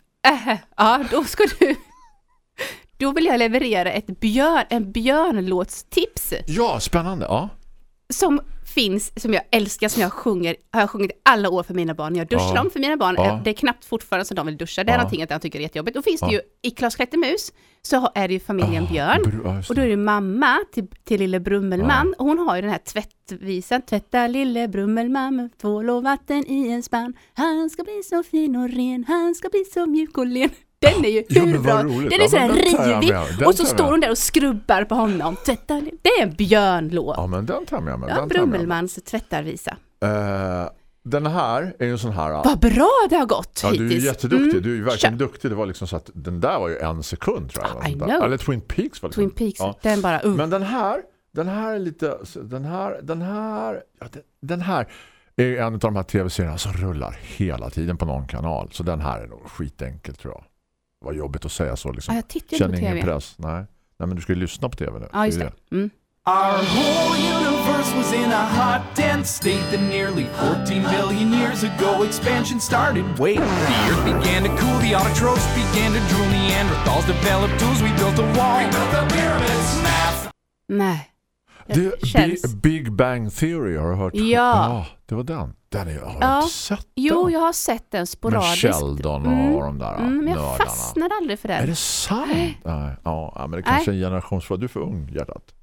Speaker 3: äh, ja, då ska du... Då vill jag leverera ett björn, en björnlåtstips
Speaker 2: Ja, spännande. Ja.
Speaker 3: som finns, som jag älskar, som jag sjunger, har jag sjungit alla år för mina barn. Jag duschar
Speaker 2: Ja.
Speaker 3: dem för mina barn.
Speaker 2: Ja.
Speaker 3: Det är knappt fortfarande som de vill duscha. Det är
Speaker 2: Ja.
Speaker 3: någonting att jag tycker är jättejobbigt. Då finns
Speaker 2: Ja.
Speaker 3: det ju, i Klas Klättermus, så har- är det ju familjen
Speaker 2: Ah,
Speaker 3: Björn.
Speaker 2: br- ja, just
Speaker 3: Och då är det mamma till, till lille Brummelman. Och hon har ju den här tvättvisan. Tvätta lille Brummelman med tvål och vatten i en spann. Han ska bli så fin och ren. Han ska bli så mjuk och len. Den är ju
Speaker 2: Ja,
Speaker 3: hur
Speaker 2: men
Speaker 3: bra.
Speaker 2: vad roligt.
Speaker 3: Den
Speaker 2: Ja,
Speaker 3: är sådär
Speaker 2: men den tar jag med. Den
Speaker 3: rivig. Och så
Speaker 2: tar jag
Speaker 3: står
Speaker 2: med.
Speaker 3: hon där och skrubbar på honom. Tvätta, li- det är en björnlåt.
Speaker 2: Ja, men den tar jag med mig.
Speaker 3: Ja,
Speaker 2: den tar jag med mig.
Speaker 3: Brummelmans tvättarvisa.
Speaker 2: Eh, den här är ju en sån här... ah,
Speaker 3: Vad bra det har gått
Speaker 2: Ja,
Speaker 3: hittills.
Speaker 2: du är jätteduktig.
Speaker 3: Mm.
Speaker 2: Du är ju verkligen
Speaker 3: Kör.
Speaker 2: duktig. Det var liksom så att den där var ju en sekund tror jag.
Speaker 3: Ah, I
Speaker 2: Sånt där.
Speaker 3: know.
Speaker 2: Eller Twin Peaks var det.
Speaker 3: Twin Peaks,
Speaker 2: Ja.
Speaker 3: den bara... Uh.
Speaker 2: Men den här, den här är lite, så den här, den här, ja, den, den här är en av de här tv-serierna som rullar hela tiden på någon kanal. Så den här är nog skitenkel tror jag. Vad jobbigt att säga så liksom.
Speaker 3: Ja, jag tittar ju
Speaker 2: Känner
Speaker 3: inte på
Speaker 2: ingen
Speaker 3: TV.
Speaker 2: press. Nej. Nej, men du ska ju lyssna på tv nu.
Speaker 3: ja, just
Speaker 2: är
Speaker 3: det. Mm.
Speaker 7: Our whole universe was in a hot, dense state that nearly 14 billion years ago expansion started. Wait, the earth began to cool, the autotrophs began to drool, Neanderthals developed tools, we built a wall. We built the pyramids. Math
Speaker 3: Nej.
Speaker 2: Det,
Speaker 3: Det känns...
Speaker 2: Bi- Big Bang Theory har du hört.
Speaker 3: Ja.
Speaker 2: det var den. Den är, har jag
Speaker 3: Ja.
Speaker 2: inte sett
Speaker 3: Jo,
Speaker 2: den.
Speaker 3: jag har sett den
Speaker 2: Med
Speaker 3: sporadiskt.
Speaker 2: Sheldon och
Speaker 3: Mm.
Speaker 2: de där
Speaker 3: Mm, men jag
Speaker 2: nördarna.
Speaker 3: fastnar aldrig för
Speaker 2: Är
Speaker 3: den.
Speaker 2: det sant? Nej. Ja, ja, men det kanske är en generationsfråga. Du är för ung, hjärtat.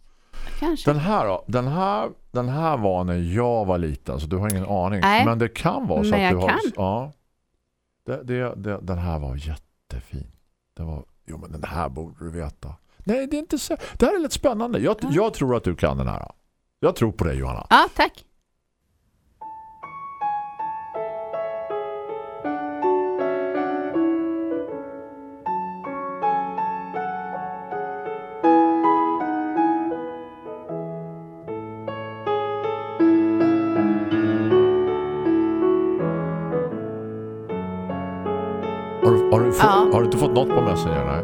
Speaker 3: kanske.
Speaker 2: Den här då? Den här, den här var när jag var liten så du har ingen aning.
Speaker 3: Nej.
Speaker 2: Men det kan vara så
Speaker 3: Men
Speaker 2: att du
Speaker 3: jag
Speaker 2: har...
Speaker 3: kan.
Speaker 2: Ja. Det, det, det, den här var jättefin. Det var, jo men den här borde du veta. Nej det är inte så. Det här är lite spännande. Jag,
Speaker 3: Ja.
Speaker 2: jag tror att du kan den här. Jag tror på dig Johanna.
Speaker 3: Ja, tack.
Speaker 2: Har, du- har, du, fått,
Speaker 3: Ja.
Speaker 2: har du inte fått något på Messenger? Nej.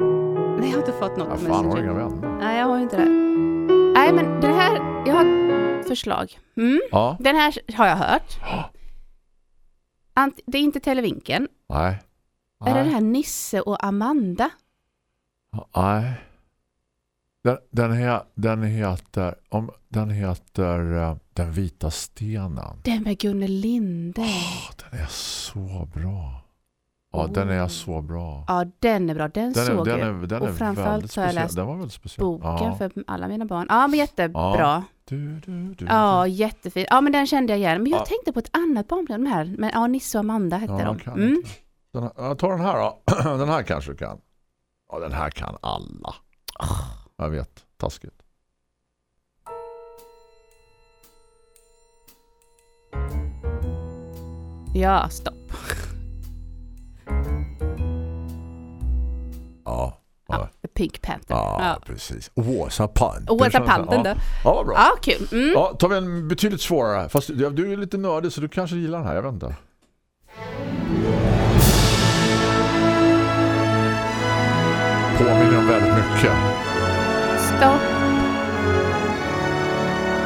Speaker 3: Nej, jag har inte fått något
Speaker 2: Ja,
Speaker 3: på
Speaker 2: fan har du
Speaker 3: Messenger.
Speaker 2: inga vänner?
Speaker 3: Nej, jag har ju inte det. Nej, men den här, jag har ett förslag. Mm.
Speaker 2: Ja.
Speaker 3: Den här har jag hört.
Speaker 2: Ja.
Speaker 3: Ant- Det är inte Televinken.
Speaker 2: Nej.
Speaker 3: Är det
Speaker 2: Nej.
Speaker 3: den här Nisse och Amanda?
Speaker 2: Nej. Den, den, he, den heter om, den heter eh, Den vita stenen.
Speaker 3: Den med Gunnel Linde.
Speaker 2: Åh, den är så bra. Ja, den är så bra.
Speaker 3: Oh. Ja, den är bra. Den,
Speaker 2: Den är,
Speaker 3: såg
Speaker 2: den
Speaker 3: jag.
Speaker 2: är, den
Speaker 3: Och
Speaker 2: är
Speaker 3: framförallt
Speaker 2: väldigt
Speaker 3: så har jag
Speaker 2: speciell.
Speaker 3: läst
Speaker 2: Den var väldigt speciell.
Speaker 3: Boken
Speaker 2: ja.
Speaker 3: för alla mina barn. Ja, men jättebra.
Speaker 2: Du, du, du,
Speaker 3: Ja, jättefin. Ja, men den kände jag igen. Men jag
Speaker 2: Ja.
Speaker 3: tänkte på ett annat barnprogram här. Men ja, Nisse och Amanda
Speaker 2: du.
Speaker 3: hette
Speaker 2: Ja,
Speaker 3: de.
Speaker 2: jag kan
Speaker 3: Mm.
Speaker 2: inte. Den här, jag tar den här då. Den här kanske du kan. Ja, den här kan alla.
Speaker 3: Ah.
Speaker 2: Jag vet, taskigt.
Speaker 3: Ja, stopp.
Speaker 2: Ja,
Speaker 3: Ja, The Pink Panther.
Speaker 2: ja,
Speaker 3: Ja.
Speaker 2: precis. Åsa Panther.
Speaker 3: Åsa Pantern
Speaker 2: ja.
Speaker 3: då.
Speaker 2: ja, vad bra.
Speaker 3: Ja, kul. Mm.
Speaker 2: Ja, tar vi en betydligt svårare. Fast du, du är lite nördig så du kanske gillar den här, jag vet inte. Påminner om väldigt mycket.
Speaker 3: Stopp.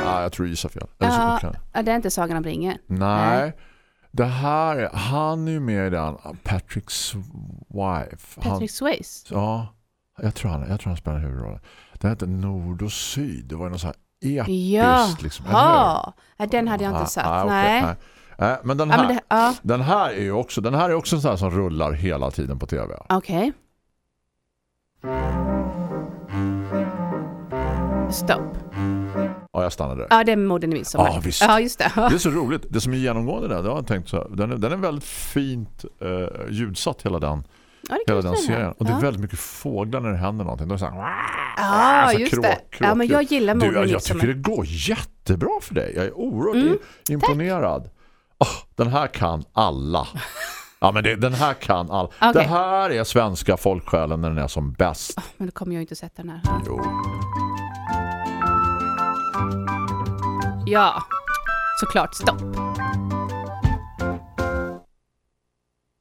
Speaker 2: Ja, Ah, jag tror du gissar fel. Eller så-
Speaker 3: Ja,
Speaker 2: kan-
Speaker 3: ja, det är inte Sagan om ringen.
Speaker 2: Nej. Det här, är- han är ju med i den. Ah, Patrick Swife. Han-
Speaker 3: Patrick Swayze.
Speaker 2: ja, jag tror han, jag tror han spelar huvudrollen. Den heter Nord och Syd. Det var ju någon sån här episkt
Speaker 3: Ja.
Speaker 2: liksom. eller hur? Ah,
Speaker 3: Ja, den hade jag inte sett.
Speaker 2: okej,
Speaker 3: nej.
Speaker 2: nej. Nej, Eh, Men den
Speaker 3: Ja,
Speaker 2: här,
Speaker 3: men det, ja.
Speaker 2: Den här är ju också, den här är också en sån här som rullar hela tiden på tv.
Speaker 3: Okej. Stopp.
Speaker 2: Ja, jag stannar där.
Speaker 3: Ja, det är morden i midsommar.
Speaker 2: Ja, visst.
Speaker 3: Ja, just det.
Speaker 2: Det är så roligt. Det som är genomgående där, det har jag tänkt så här. Den är, den är väldigt fint eh, ljudsatt hela den,
Speaker 3: Ja, det
Speaker 2: hela
Speaker 3: kanske är här.
Speaker 2: den serien. Och det
Speaker 3: ja.
Speaker 2: är väldigt mycket fåglar när det händer någonting. De är så här,
Speaker 3: Ja,
Speaker 2: alltså
Speaker 3: just
Speaker 2: kråk-
Speaker 3: det. Ja, men
Speaker 2: kråkljud.
Speaker 3: jag gillar
Speaker 2: du,
Speaker 3: morden
Speaker 2: jag,
Speaker 3: i
Speaker 2: jag tycker
Speaker 3: midsommar.
Speaker 2: det går jättebra för dig. Jag är oerhört
Speaker 3: Mm,
Speaker 2: i- imponerad. Ah, den här kan alla. Ja, men det, den här kan alla.
Speaker 3: Okej.
Speaker 2: Det här är svenska folksjälen när den är som bäst.
Speaker 3: Men då kommer jag ju inte sätta den här.
Speaker 2: Jo.
Speaker 3: Ja, såklart. Stopp.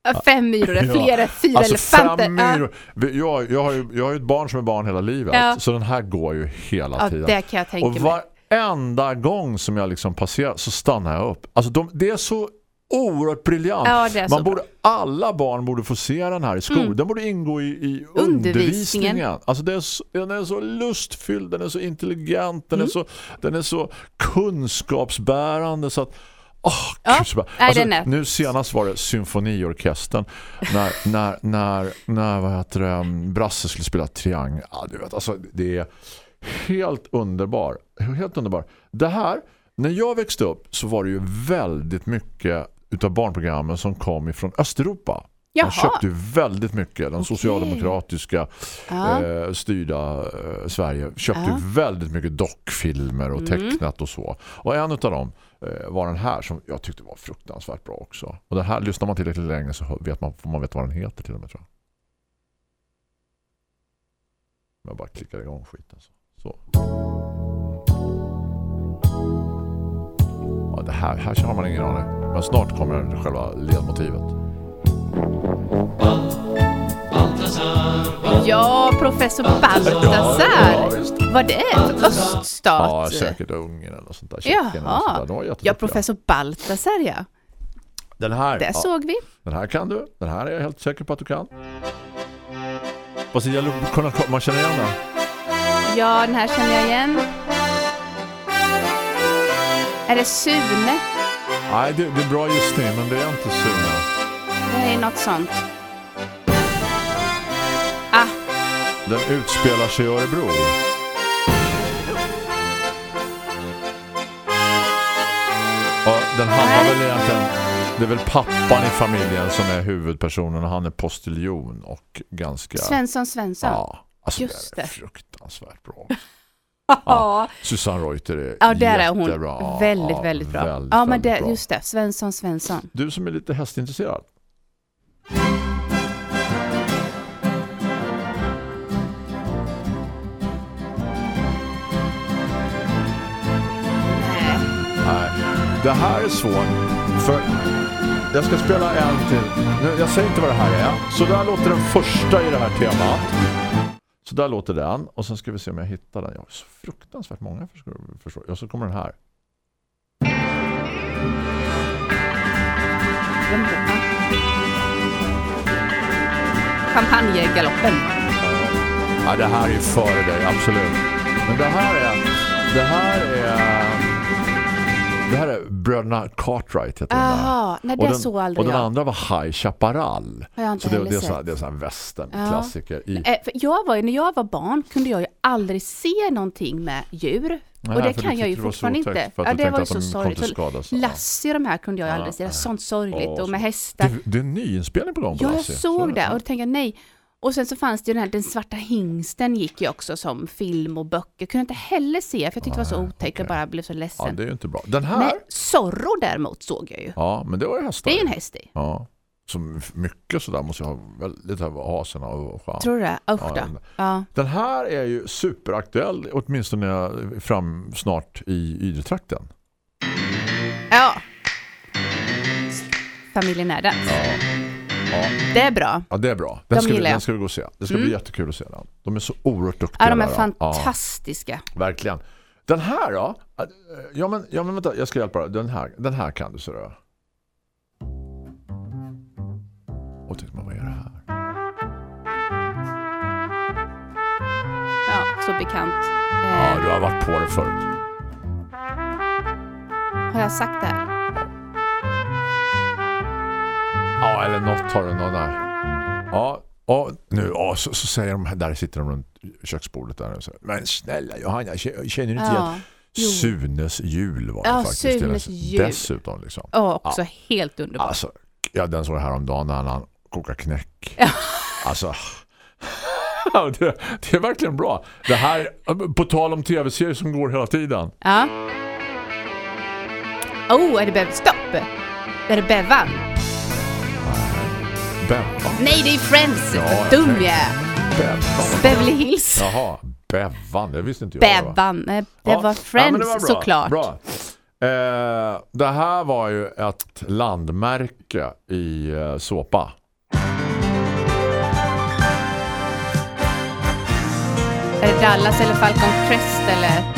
Speaker 3: Ja, Äh, Fem myror, är fler än fyra Äh,
Speaker 2: Alltså
Speaker 3: elefanter.
Speaker 2: fem myror. Vi- Jag, jag, har ju, jag har ju ett barn som är barn hela livet.
Speaker 3: Ja.
Speaker 2: Så den här går ju hela
Speaker 3: Ja,
Speaker 2: tiden.
Speaker 3: det kan jag tänka
Speaker 2: och
Speaker 3: mig.
Speaker 2: varenda gång som jag liksom passerar så stannar jag upp. Alltså de, det är så oerhört briljant.
Speaker 3: Ja, det är så Mm.
Speaker 2: Man borde, alla barn borde få se den här i skolan. Den borde ingå i, i
Speaker 3: Undervisningen.
Speaker 2: undervisningen. Alltså det är så, den är så lustfylld, den är så intelligent,
Speaker 3: Mm.
Speaker 2: den, är, så, den är så kunskapsbärande så att Oh,
Speaker 3: Ja,
Speaker 2: gud, så bra.
Speaker 3: nej,
Speaker 2: alltså,
Speaker 3: den är-
Speaker 2: nu senast var det symfoniorkestern när, när, när, när vad heter det, um, Brasse skulle spela triang. Ja, du vet, alltså, det är helt underbar. Helt underbar. Det här, när jag växte upp så var det ju väldigt mycket utav barnprogrammen som kom ifrån Östeuropa.
Speaker 3: Jaha.
Speaker 2: Man köpte ju väldigt mycket. De socialdemokratiska
Speaker 3: Ja.
Speaker 2: eh, styrda eh, Sverige köpte
Speaker 3: Ja. Mm.
Speaker 2: ju väldigt mycket dockfilmer och tecknat och så. Och en av dem eh, var den här som jag tyckte var fruktansvärt bra också. Och den här, lyssnar man tillräckligt länge så hör- vet man, får man veta vad den heter till och med tror jag. Om Jag bara klickar igång skiten så. så. Ja, det här, här har man ingen aning. Men snart kommer själva ledmotivet.
Speaker 3: Ja, professor
Speaker 2: Ja,
Speaker 3: Baltasar.
Speaker 2: visst.
Speaker 3: Vad det är för öststat?
Speaker 2: Ja, säkert Ungern eller sånt där. Tjeckien eller
Speaker 3: eh, Jaha.
Speaker 2: sånt där. De var jätteduktiga.
Speaker 3: Ja, professor Baltasar, ja.
Speaker 2: Den här,
Speaker 3: Det
Speaker 2: ja,
Speaker 3: såg vi.
Speaker 2: den här kan du. Den här är jag helt säker på att du kan. Fast det gäller att kunna, man känner igen den.
Speaker 3: Ja, den här känner jag igen. Är det Sune?
Speaker 2: Nej, det, det är bra gissning, men det är inte Sune.
Speaker 3: Det är något sånt. Ah,
Speaker 2: Den utspelar sig i Örebro. väl egentligen det är väl pappan i familjen som är huvudpersonen och han är postiljon och ganska...
Speaker 3: Svensson Svensson.
Speaker 2: Ja, alltså
Speaker 3: Just
Speaker 2: det är
Speaker 3: det.
Speaker 2: fruktansvärt bra.
Speaker 3: Ja.
Speaker 2: Susanne Reuter är
Speaker 3: Ja, där är hon
Speaker 2: jättebra. Ja,
Speaker 3: väldigt, väldigt bra.
Speaker 2: väldigt,
Speaker 3: ja, men
Speaker 2: väldigt
Speaker 3: det,
Speaker 2: bra.
Speaker 3: just det. Svensson, Svensson.
Speaker 2: Du som är lite hästintresserad. Nej, det här är svårt. För jag ska spela en till. Nu, jag säger inte vad det här är. Så där låter den första i det här temat. Så där låter den. Och sen ska vi se om jag hittar den. Jag har så fruktansvärt många förstår förstår- Och så kommer den här.
Speaker 3: Vem då? Ja. Champagnegaloppen.
Speaker 2: Ja, det här är ju före dig, absolut. Men det här är... Det här är... Det här är Bröderna Cartwright heter den där.
Speaker 3: Jaha, nej det
Speaker 2: den,
Speaker 3: såg
Speaker 2: och
Speaker 3: aldrig
Speaker 2: den
Speaker 3: jag.
Speaker 2: andra var High Chaparral.
Speaker 3: Har jag inte
Speaker 2: Så det,
Speaker 3: heller
Speaker 2: det är så här-
Speaker 3: sett.
Speaker 2: det är så här västernklassiker. I,
Speaker 3: Eh, för jag var, ju- när jag var barn kunde jag ju aldrig se någonting med djur.
Speaker 2: Nej,
Speaker 3: och det
Speaker 2: för du
Speaker 3: kan jag
Speaker 2: tyckte
Speaker 3: ju
Speaker 2: det var så
Speaker 3: fortfarande
Speaker 2: otäckt,
Speaker 3: inte.
Speaker 2: för att
Speaker 3: Ja,
Speaker 2: du
Speaker 3: det
Speaker 2: tänkte
Speaker 3: var ju
Speaker 2: att
Speaker 3: så
Speaker 2: de kom till
Speaker 3: sorgligt.
Speaker 2: skada, så-
Speaker 3: Så Lassie och de här kunde jag ju aldrig se. Det var sånt sorgligt.
Speaker 2: Åh,
Speaker 3: och med
Speaker 2: så-
Speaker 3: hästar.
Speaker 2: det, det är en ny inspelning på dem. på
Speaker 3: Ja, jag
Speaker 2: Lassie.
Speaker 3: såg det och då tänkte jag nej. Och sen så fanns det ju den här Den svarta hingsten gick ju också som film och böcker. Kunde inte heller se för jag tyckte det var så otäckt och bara blev så
Speaker 2: Ah, Ja,
Speaker 3: ledsen.
Speaker 2: det är ju inte bra. Den här?
Speaker 3: Men Zorro däremot såg jag ju.
Speaker 2: Ja, men det var ju hästar.
Speaker 3: Det är en häst i.
Speaker 2: Ja. Som mycket sådär måste jag ha väldigt av hasen och skärm.
Speaker 3: Tror du det? Usch
Speaker 2: Ja,
Speaker 3: då.
Speaker 2: den-
Speaker 3: Ja.
Speaker 2: Den här är ju superaktuell, åtminstone fram snart i Ydretrakten.
Speaker 3: ja. Familjen Addams. Det är bra.
Speaker 2: Ja, det är bra. Den,
Speaker 3: De
Speaker 2: ska vi,
Speaker 3: gillar jag. Mm.
Speaker 2: den ska vi gå och se. Det ska bli jättekul att se den. De är så oerhört duktiga.
Speaker 3: Ja, de är
Speaker 2: där,
Speaker 3: fantastiska.
Speaker 2: Ja, verkligen. Den här då? Äh, Ja men, ja, men vänta, jag ska hjälpa dig. Den här, den här kan du se då. Och tänkte man, vad är det här?
Speaker 3: Ja, så bekant.
Speaker 2: Ja,
Speaker 3: Eh,
Speaker 2: du har varit på det förut.
Speaker 3: har jag sagt det här?
Speaker 2: Ja, eller något har du någon där. Ja, och nu ja, så, så säger de, där sitter de runt köksbordet där och säger, men snälla Johanna, k- känner du inte igen
Speaker 3: Ja. Jo.
Speaker 2: Sunes jul var det
Speaker 3: Ja,
Speaker 2: faktiskt.
Speaker 3: Sunes
Speaker 2: Dess-
Speaker 3: jul.
Speaker 2: Dessutom liksom.
Speaker 3: Ja, också helt underbart.
Speaker 2: Alltså, ja, den såg jag häromdagen när han kokar knäck. Alltså, ja, det, det är verkligen bra. Det här, på tal om tv-serier som går hela tiden.
Speaker 3: Ja. Oh, är det Bev? Stopp! Är det Bevan?
Speaker 2: Bevan.
Speaker 3: Nej, det är Friends!
Speaker 2: Ja,
Speaker 3: Vad Dum
Speaker 2: okej.
Speaker 3: jag är.
Speaker 2: Bevan.
Speaker 3: Beverly Hills.
Speaker 2: Jaha, Bevan. Det visste inte jag. det var.
Speaker 3: Bevan. Nej, Det var
Speaker 2: Ja. Ja, men
Speaker 3: Friends
Speaker 2: det var bra.
Speaker 3: såklart.
Speaker 2: Bra. Eh, det här var ju ett landmärke i eh, såpa.
Speaker 3: Är det Dallas eller Falcon Crest eller?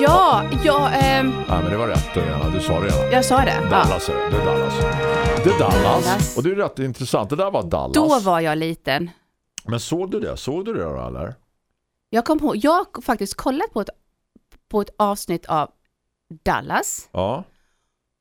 Speaker 3: Ja, ja, ehm,
Speaker 2: Nej, men det var rätt Helena. Du sa det redan.
Speaker 3: jag sa det. Ja.
Speaker 2: Dallas är det. Det är Dallas. Det är Dallas.
Speaker 3: Dallas.
Speaker 2: Och det är rätt intressant. Det där var Dallas.
Speaker 3: Då var jag liten.
Speaker 2: Men såg du det? Såg du det då, eller?
Speaker 3: Jag kom ihåg, jag har faktiskt kollat på ett, på ett avsnitt av Dallas.
Speaker 2: Ja.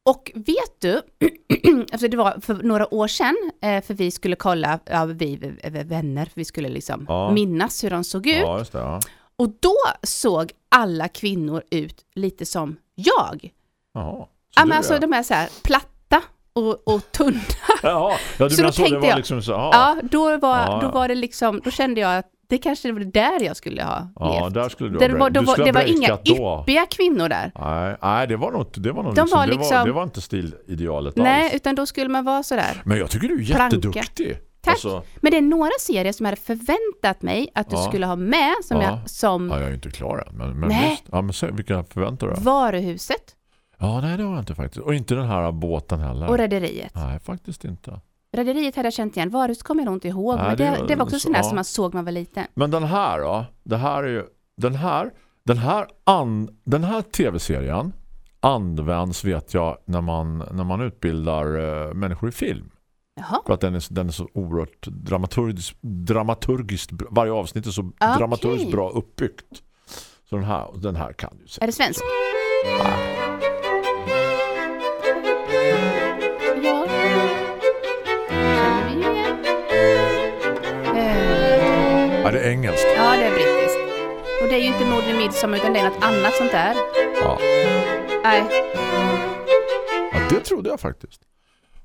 Speaker 3: Och vet du, alltså det var för några år sedan, eh, för vi skulle kolla, ja, vi vi- vi vänner, för vi skulle liksom
Speaker 2: Ja.
Speaker 3: minnas hur de såg ut.
Speaker 2: Ja, just det. Ja.
Speaker 3: Och då såg alla kvinnor ut lite som jag.
Speaker 2: Jaha. Så
Speaker 3: Ja,
Speaker 2: du
Speaker 3: men
Speaker 2: är-
Speaker 3: alltså de är så här platta och, och tunna.
Speaker 2: Jaha. Ja, du
Speaker 3: Så
Speaker 2: menar
Speaker 3: då
Speaker 2: så. Det
Speaker 3: tänkte
Speaker 2: var
Speaker 3: jag-
Speaker 2: liksom så. Ja,
Speaker 3: Ja, då var,
Speaker 2: Ja, ja.
Speaker 3: då var det liksom, då kände jag att det kanske var där jag skulle ha
Speaker 2: Ja,
Speaker 3: levt.
Speaker 2: där skulle du ha
Speaker 3: det
Speaker 2: break-
Speaker 3: var, då
Speaker 2: du
Speaker 3: var,
Speaker 2: skulle
Speaker 3: det
Speaker 2: ha
Speaker 3: var inga
Speaker 2: breakat då.
Speaker 3: yppiga kvinnor där.
Speaker 2: Nej, nej, det var nog inte, det var nog
Speaker 3: De
Speaker 2: liksom,
Speaker 3: var
Speaker 2: det, var,
Speaker 3: liksom-
Speaker 2: det var inte stilidealet
Speaker 3: Nej,
Speaker 2: alls.
Speaker 3: utan då skulle man vara sådär.
Speaker 2: Men jag tycker du är
Speaker 3: Planka.
Speaker 2: jätteduktig.
Speaker 3: Tack!
Speaker 2: Alltså,
Speaker 3: Men det är några serier som jag hade förväntat mig att du
Speaker 2: Ja.
Speaker 3: skulle ha med, som,
Speaker 2: Ja.
Speaker 3: jag, som
Speaker 2: Ja, jag är ju inte klar än. Men, men
Speaker 3: Nej.
Speaker 2: Just, ja, men se, vilka förväntar du dig?
Speaker 3: Varuhuset
Speaker 2: Ja, nej det har jag inte faktiskt. Och inte den här båten heller.
Speaker 3: och Rederiet.
Speaker 2: Nej, faktiskt inte.
Speaker 3: Rederiet hade jag känt igen, Varuhuset kommer jag nog inte ihåg,
Speaker 2: Nej,
Speaker 3: men
Speaker 2: det
Speaker 3: det,
Speaker 2: var-
Speaker 3: det, var också sådana
Speaker 2: ja.
Speaker 3: som man såg när man var liten.
Speaker 2: Men den här då? Det här är ju, den här, den här, an, den här tv-serien används vet jag när man, när man utbildar eh, människor i film.
Speaker 3: Jaha,
Speaker 2: För att den är, så- den är så oerhört dramaturgiskt, dramaturgiskt bra. varje avsnitt är så
Speaker 3: Ah, Okej.
Speaker 2: dramaturgiskt bra uppbyggt. Så den här, och den här kan du se.
Speaker 3: är det svenskt? Ja. Känner vi igen. Eh,
Speaker 2: Ja, det är engelskt.
Speaker 3: Ja, det är brittiskt. Och det är ju inte mord i midsommar utan det är något annat sånt där.
Speaker 2: Ja.
Speaker 3: Nej,
Speaker 2: ja, det trodde jag faktiskt.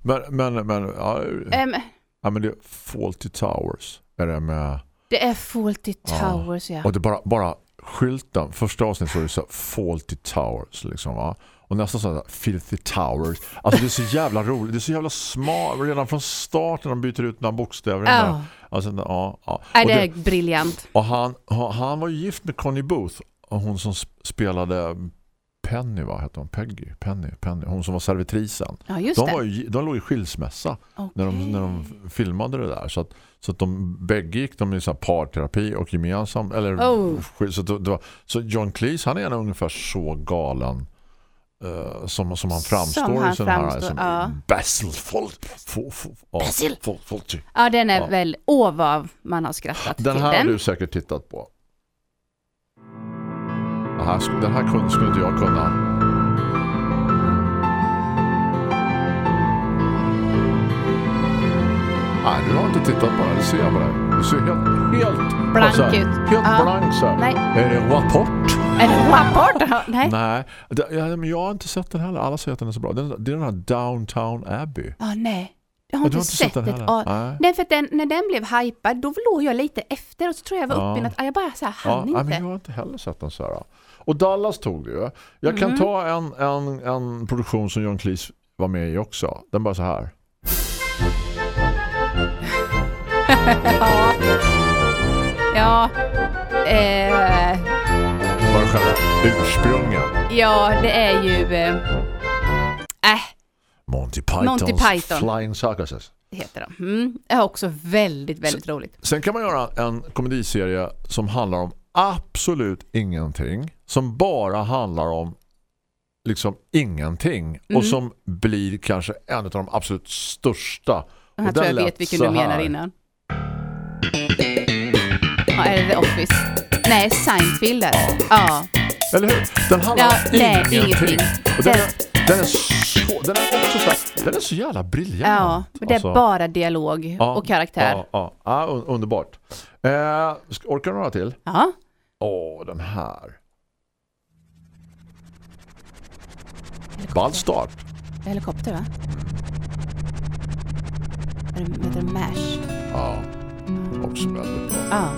Speaker 2: Men, men, men, ja,
Speaker 3: ehm,
Speaker 2: ja, men det är Faulty Towers. Är det med...
Speaker 3: det är Faulty Towers ja.
Speaker 2: Och det bara, bara skylten. Första avsnittet så är det så här, Faulty Towers liksom va. Och nästa så här, Filthy Towers. Alltså det är så jävla roligt. Det är så jävla smart. Redan från starten de byter ut några bokstäver.
Speaker 3: Ja.
Speaker 2: Oh. Alltså, ja, ja.
Speaker 3: Nej,
Speaker 2: Och
Speaker 3: det
Speaker 2: det-
Speaker 3: är briljant.
Speaker 2: Och han, ha- han var ju gift med Connie Booth. och Hon som sp- spelade Penny, vad hette hon? Peggy? Penny, Penny. Hon som var servitrisen.
Speaker 3: Ja, just
Speaker 2: De,
Speaker 3: det.
Speaker 2: var ju, gi- de låg i skilsmässa när de,
Speaker 3: Okej.
Speaker 2: när de filmade det där. Så att, så att de bägge gick de i så här parterapi och gemensam. Eller,
Speaker 3: Oh.
Speaker 2: skil- så, att det- det var, så John Cleese, han är nog ungefär så galen eh, som, som han framstår
Speaker 3: han
Speaker 2: i sin här.
Speaker 3: framstår,
Speaker 2: Som
Speaker 3: ja.
Speaker 2: Basil Folt. Fo, fo, ja, typ.
Speaker 3: Basil.
Speaker 2: Fo- Fawlty.
Speaker 3: Ja, den är
Speaker 2: Ja.
Speaker 3: väl... Åh, vad man har skrattat
Speaker 2: Den
Speaker 3: till
Speaker 2: här har
Speaker 3: den.
Speaker 2: du säkert tittat på. Den här, sk- den här kunde, skulle inte jag kunna. Nej, du har inte tittat på den. Det ser jag på dig. Du ser helt, helt
Speaker 3: Blank
Speaker 2: så här,
Speaker 3: ut.
Speaker 2: Helt
Speaker 3: Ja.
Speaker 2: blank så här.
Speaker 3: Nej.
Speaker 2: Är det en rapport?
Speaker 3: Är det rapport? Nej.
Speaker 2: Nej. Det, ja, men jag har inte sett den heller. Alla säger att den är så bra. Den, det är den här Downtown Abbey.
Speaker 3: Ja, nej. Jag har
Speaker 2: Ja,
Speaker 3: inte,
Speaker 2: du har
Speaker 3: sett,
Speaker 2: inte sett den
Speaker 3: ett
Speaker 2: heller?
Speaker 3: A.
Speaker 2: Nej.
Speaker 3: Nej, för att den, när den blev hypad, då låg jag lite efter och så tror jag jag var
Speaker 2: Ja.
Speaker 3: uppe i något. Jag bara så här,
Speaker 2: Ja,
Speaker 3: hann
Speaker 2: nej, men
Speaker 3: inte.
Speaker 2: jag har inte heller sett den så här. Och Dallas tog det ju. Jag kan
Speaker 3: Mhm.
Speaker 2: ta en, en, en produktion som John Cleese var med i också. Den bara så här.
Speaker 3: Ja. Eh,
Speaker 2: Bara själva ursprungen.
Speaker 3: ja, det är ju... Eh, äh,
Speaker 2: Monty Pythons
Speaker 3: Monty Python.
Speaker 2: Flying Circuses.
Speaker 3: heter de. Mm. Det är också väldigt, väldigt roligt.
Speaker 2: Sen kan man göra en komediserie som handlar om absolut ingenting. Som bara handlar om liksom ingenting.
Speaker 3: Mhm.
Speaker 2: Och som blir kanske en av de absolut största.
Speaker 3: Den här
Speaker 2: Och den
Speaker 3: tror jag
Speaker 2: lät
Speaker 3: vet vilken
Speaker 2: så
Speaker 3: du menar
Speaker 2: här.
Speaker 3: innan. Ja, är det The Office? Nej, Seinfeld är det. Ja.
Speaker 2: Eller hur? Den handlar
Speaker 3: Ja,
Speaker 2: om
Speaker 3: nej,
Speaker 2: ingenting.
Speaker 3: ingenting.
Speaker 2: Och den, är,
Speaker 3: Den-
Speaker 2: den, är så, den är också så här, den är så jävla briljant.
Speaker 3: Ja, men det är
Speaker 2: Alltså,
Speaker 3: bara dialog
Speaker 2: ja,
Speaker 3: och karaktär.
Speaker 2: Ja, ja, ja un- underbart. Eh, ska- orkar du några till?
Speaker 3: Ja.
Speaker 2: Åh, den här. Ball start.
Speaker 3: Helikopter va? Är det, heter det MASH?
Speaker 2: Ja, också väldigt bra.
Speaker 3: Ja.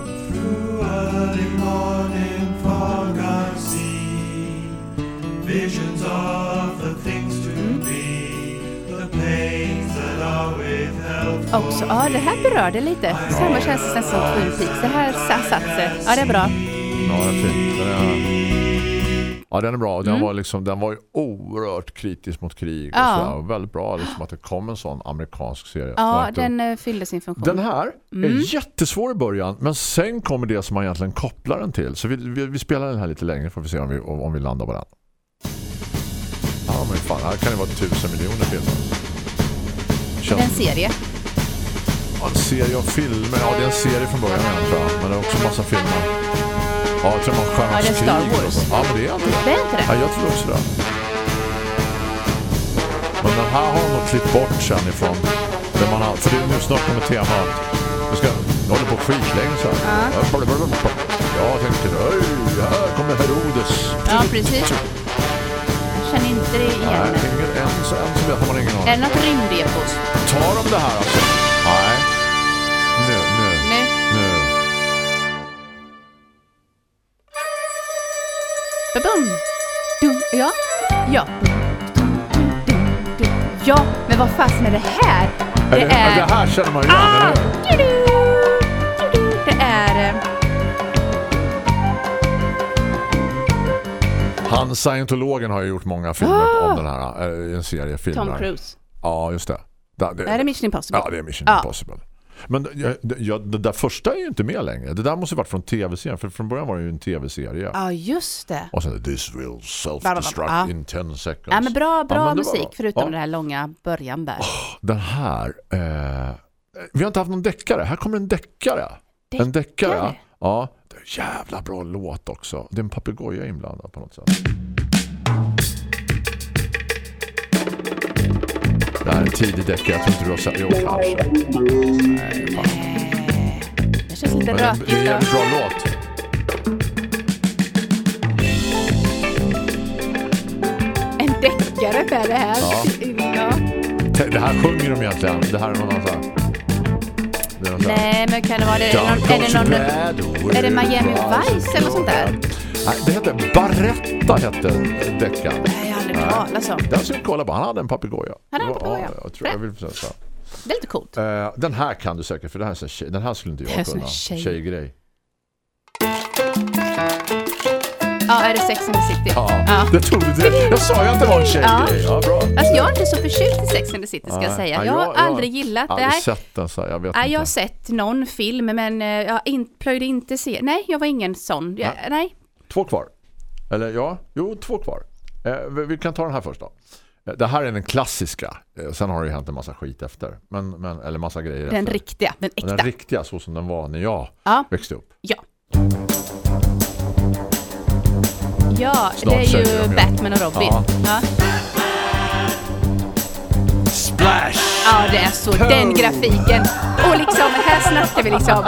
Speaker 3: Också, ja det här berörde lite. Samma känsla som Twin Peaks. Det här sa- satt sig. Ja det är bra.
Speaker 2: Ja, den är fin. Den är... Ja, den är bra. Den, var liksom, den var ju oerhört kritisk mot krig. Och
Speaker 3: Mm. Ja.
Speaker 2: sådär. Och väldigt bra liksom, att det kom en sån amerikansk serie.
Speaker 3: Ja,
Speaker 2: Verkligen.
Speaker 3: den eh, fyllde sin funktion.
Speaker 2: Den här är jättesvår i början men sen kommer det som man egentligen kopplar den till. Så vi, vi, vi spelar den här lite längre får vi se om vi, om, om vi landar på den. Ja men fan, här kan det vara tusen miljoner filmer.
Speaker 3: Det är en
Speaker 2: Känns,
Speaker 3: serie.
Speaker 2: ja, en serie av filmer. Ja, det är en serie från början igen, tror jag. Men det är också massa filmer. Ja, jag tror man skär
Speaker 3: Ja, det är Star Wars.
Speaker 2: Ja, men det är alltid
Speaker 3: Det är inte
Speaker 2: Ja,
Speaker 3: det?
Speaker 2: jag tror också det. Men den här har de nog klippt bort sen ifrån. Där man har, för det, nu snart kommer temat. Vi ska, jag håller på skitlänge så här. Jag tänkte, oj, här kommer Herodes.
Speaker 3: Ja, precis. Jag känner inte det
Speaker 2: Nej,
Speaker 3: igen.
Speaker 2: ingen, än, så, än så vet man ingen
Speaker 3: Är
Speaker 2: aning.
Speaker 3: det något rymdepos?
Speaker 2: Tar de det här alltså? Nej. Nu, nu,
Speaker 3: Nu.
Speaker 2: nu.
Speaker 3: Ba-bum. Dum. Ja. Ja. Dum, dum, dum, dum. Ja, men vad fasen är det här?
Speaker 2: Det, det, det här känner man ju igen,
Speaker 3: Ah!
Speaker 2: eller hur?
Speaker 3: Tudu! Tudu! Det är... eh,
Speaker 2: Han, scientologen, har ju gjort många filmer om den här. eh, En serie filmer.
Speaker 3: Ah! Tom Cruise.
Speaker 2: Ja, just det. Där-
Speaker 3: Det här är Mission Impossible.
Speaker 2: Ja, det är Mission
Speaker 3: Ja.
Speaker 2: Impossible. Men jag, jag, det där första är ju inte med längre. Det där måste ju varit från tv-serien, för från början var det ju en tv-serie.
Speaker 3: Ja, just det.
Speaker 2: Och sen This will self-destruct
Speaker 3: Ja.
Speaker 2: in 10 seconds.
Speaker 3: Ja, men bra bra
Speaker 2: Ja, men det var
Speaker 3: musik,
Speaker 2: bra.
Speaker 3: förutom
Speaker 2: Ja.
Speaker 3: den här långa början där.
Speaker 2: Den här... Eh, vi har inte haft någon deckare. Här kommer en deckare. En
Speaker 3: Deckare?
Speaker 2: deckare? Ja. Det är en jävla bra låt också. Det är en papegoja inblandad på något sätt. Det här är en tidig deckare. Jag tror inte du har sett. Jo, kanske.
Speaker 3: Det känns lite
Speaker 2: Men det,
Speaker 3: rökigt.
Speaker 2: det är en
Speaker 3: då.
Speaker 2: jävligt bra låt.
Speaker 3: ungefär det här.
Speaker 2: Ja.
Speaker 3: Ja.
Speaker 2: Det här sjunger de egentligen. Det här är någon annan så här. Det är någon så här-
Speaker 3: Nej, men kan det vara det? Är det någon, är det, någon, är det Miami Vice eller sånt där?
Speaker 2: Nej, det hette Barretta hette deckaren.
Speaker 3: Nej, jag har aldrig hört talas om.
Speaker 2: Den ska jag kolla på. Han hade en papegoja.
Speaker 3: Han hade en
Speaker 2: Det var-
Speaker 3: papegoja.
Speaker 2: Ja, jag tror jag vill säga så. här.
Speaker 3: Det är lite coolt.
Speaker 2: Eh, den här kan du säkert, för den här, är så här tjej, den här skulle inte
Speaker 3: Det här är
Speaker 2: jag
Speaker 3: sån
Speaker 2: kunna.
Speaker 3: här tjej.
Speaker 2: Tjejgrej.
Speaker 3: Ja, är det Sex and the City?
Speaker 2: Ja, det tog du direkt. Jag sa ju att det var en tjejgrej. Ja, bra.
Speaker 3: Alltså jag är inte så förtjust i Sex and the City ska jag
Speaker 2: Nej.
Speaker 3: säga.
Speaker 2: Nej,
Speaker 3: Jag har aldrig
Speaker 2: jag
Speaker 3: gillat
Speaker 2: har
Speaker 3: det
Speaker 2: aldrig
Speaker 3: här.
Speaker 2: sett den så här, jag vet
Speaker 3: Nej,
Speaker 2: inte.
Speaker 3: jag har sett någon film men eh, jag har in, plöjde inte se. Nej, jag var ingen sån. Jag,
Speaker 2: Nej.
Speaker 3: nej.
Speaker 2: Två kvar. Eller ja, jo två kvar. Eh, vi- vi kan ta den här först då. Eh, Det här är den klassiska. Eh, sen har det ju hänt en massa skit efter. Men, men, eller massa grejer
Speaker 3: Den
Speaker 2: efter.
Speaker 3: riktiga, den
Speaker 2: Men den
Speaker 3: äkta.
Speaker 2: riktiga så som den var när jag
Speaker 3: Ja.
Speaker 2: växte upp.
Speaker 3: Ja. Ja,
Speaker 2: Snart
Speaker 3: det är
Speaker 2: säger de
Speaker 3: ju
Speaker 2: ju.
Speaker 3: Batman och Robin.
Speaker 2: Ja.
Speaker 3: Ja. Ja. det är så. Den grafiken. Och liksom, här snackar vi liksom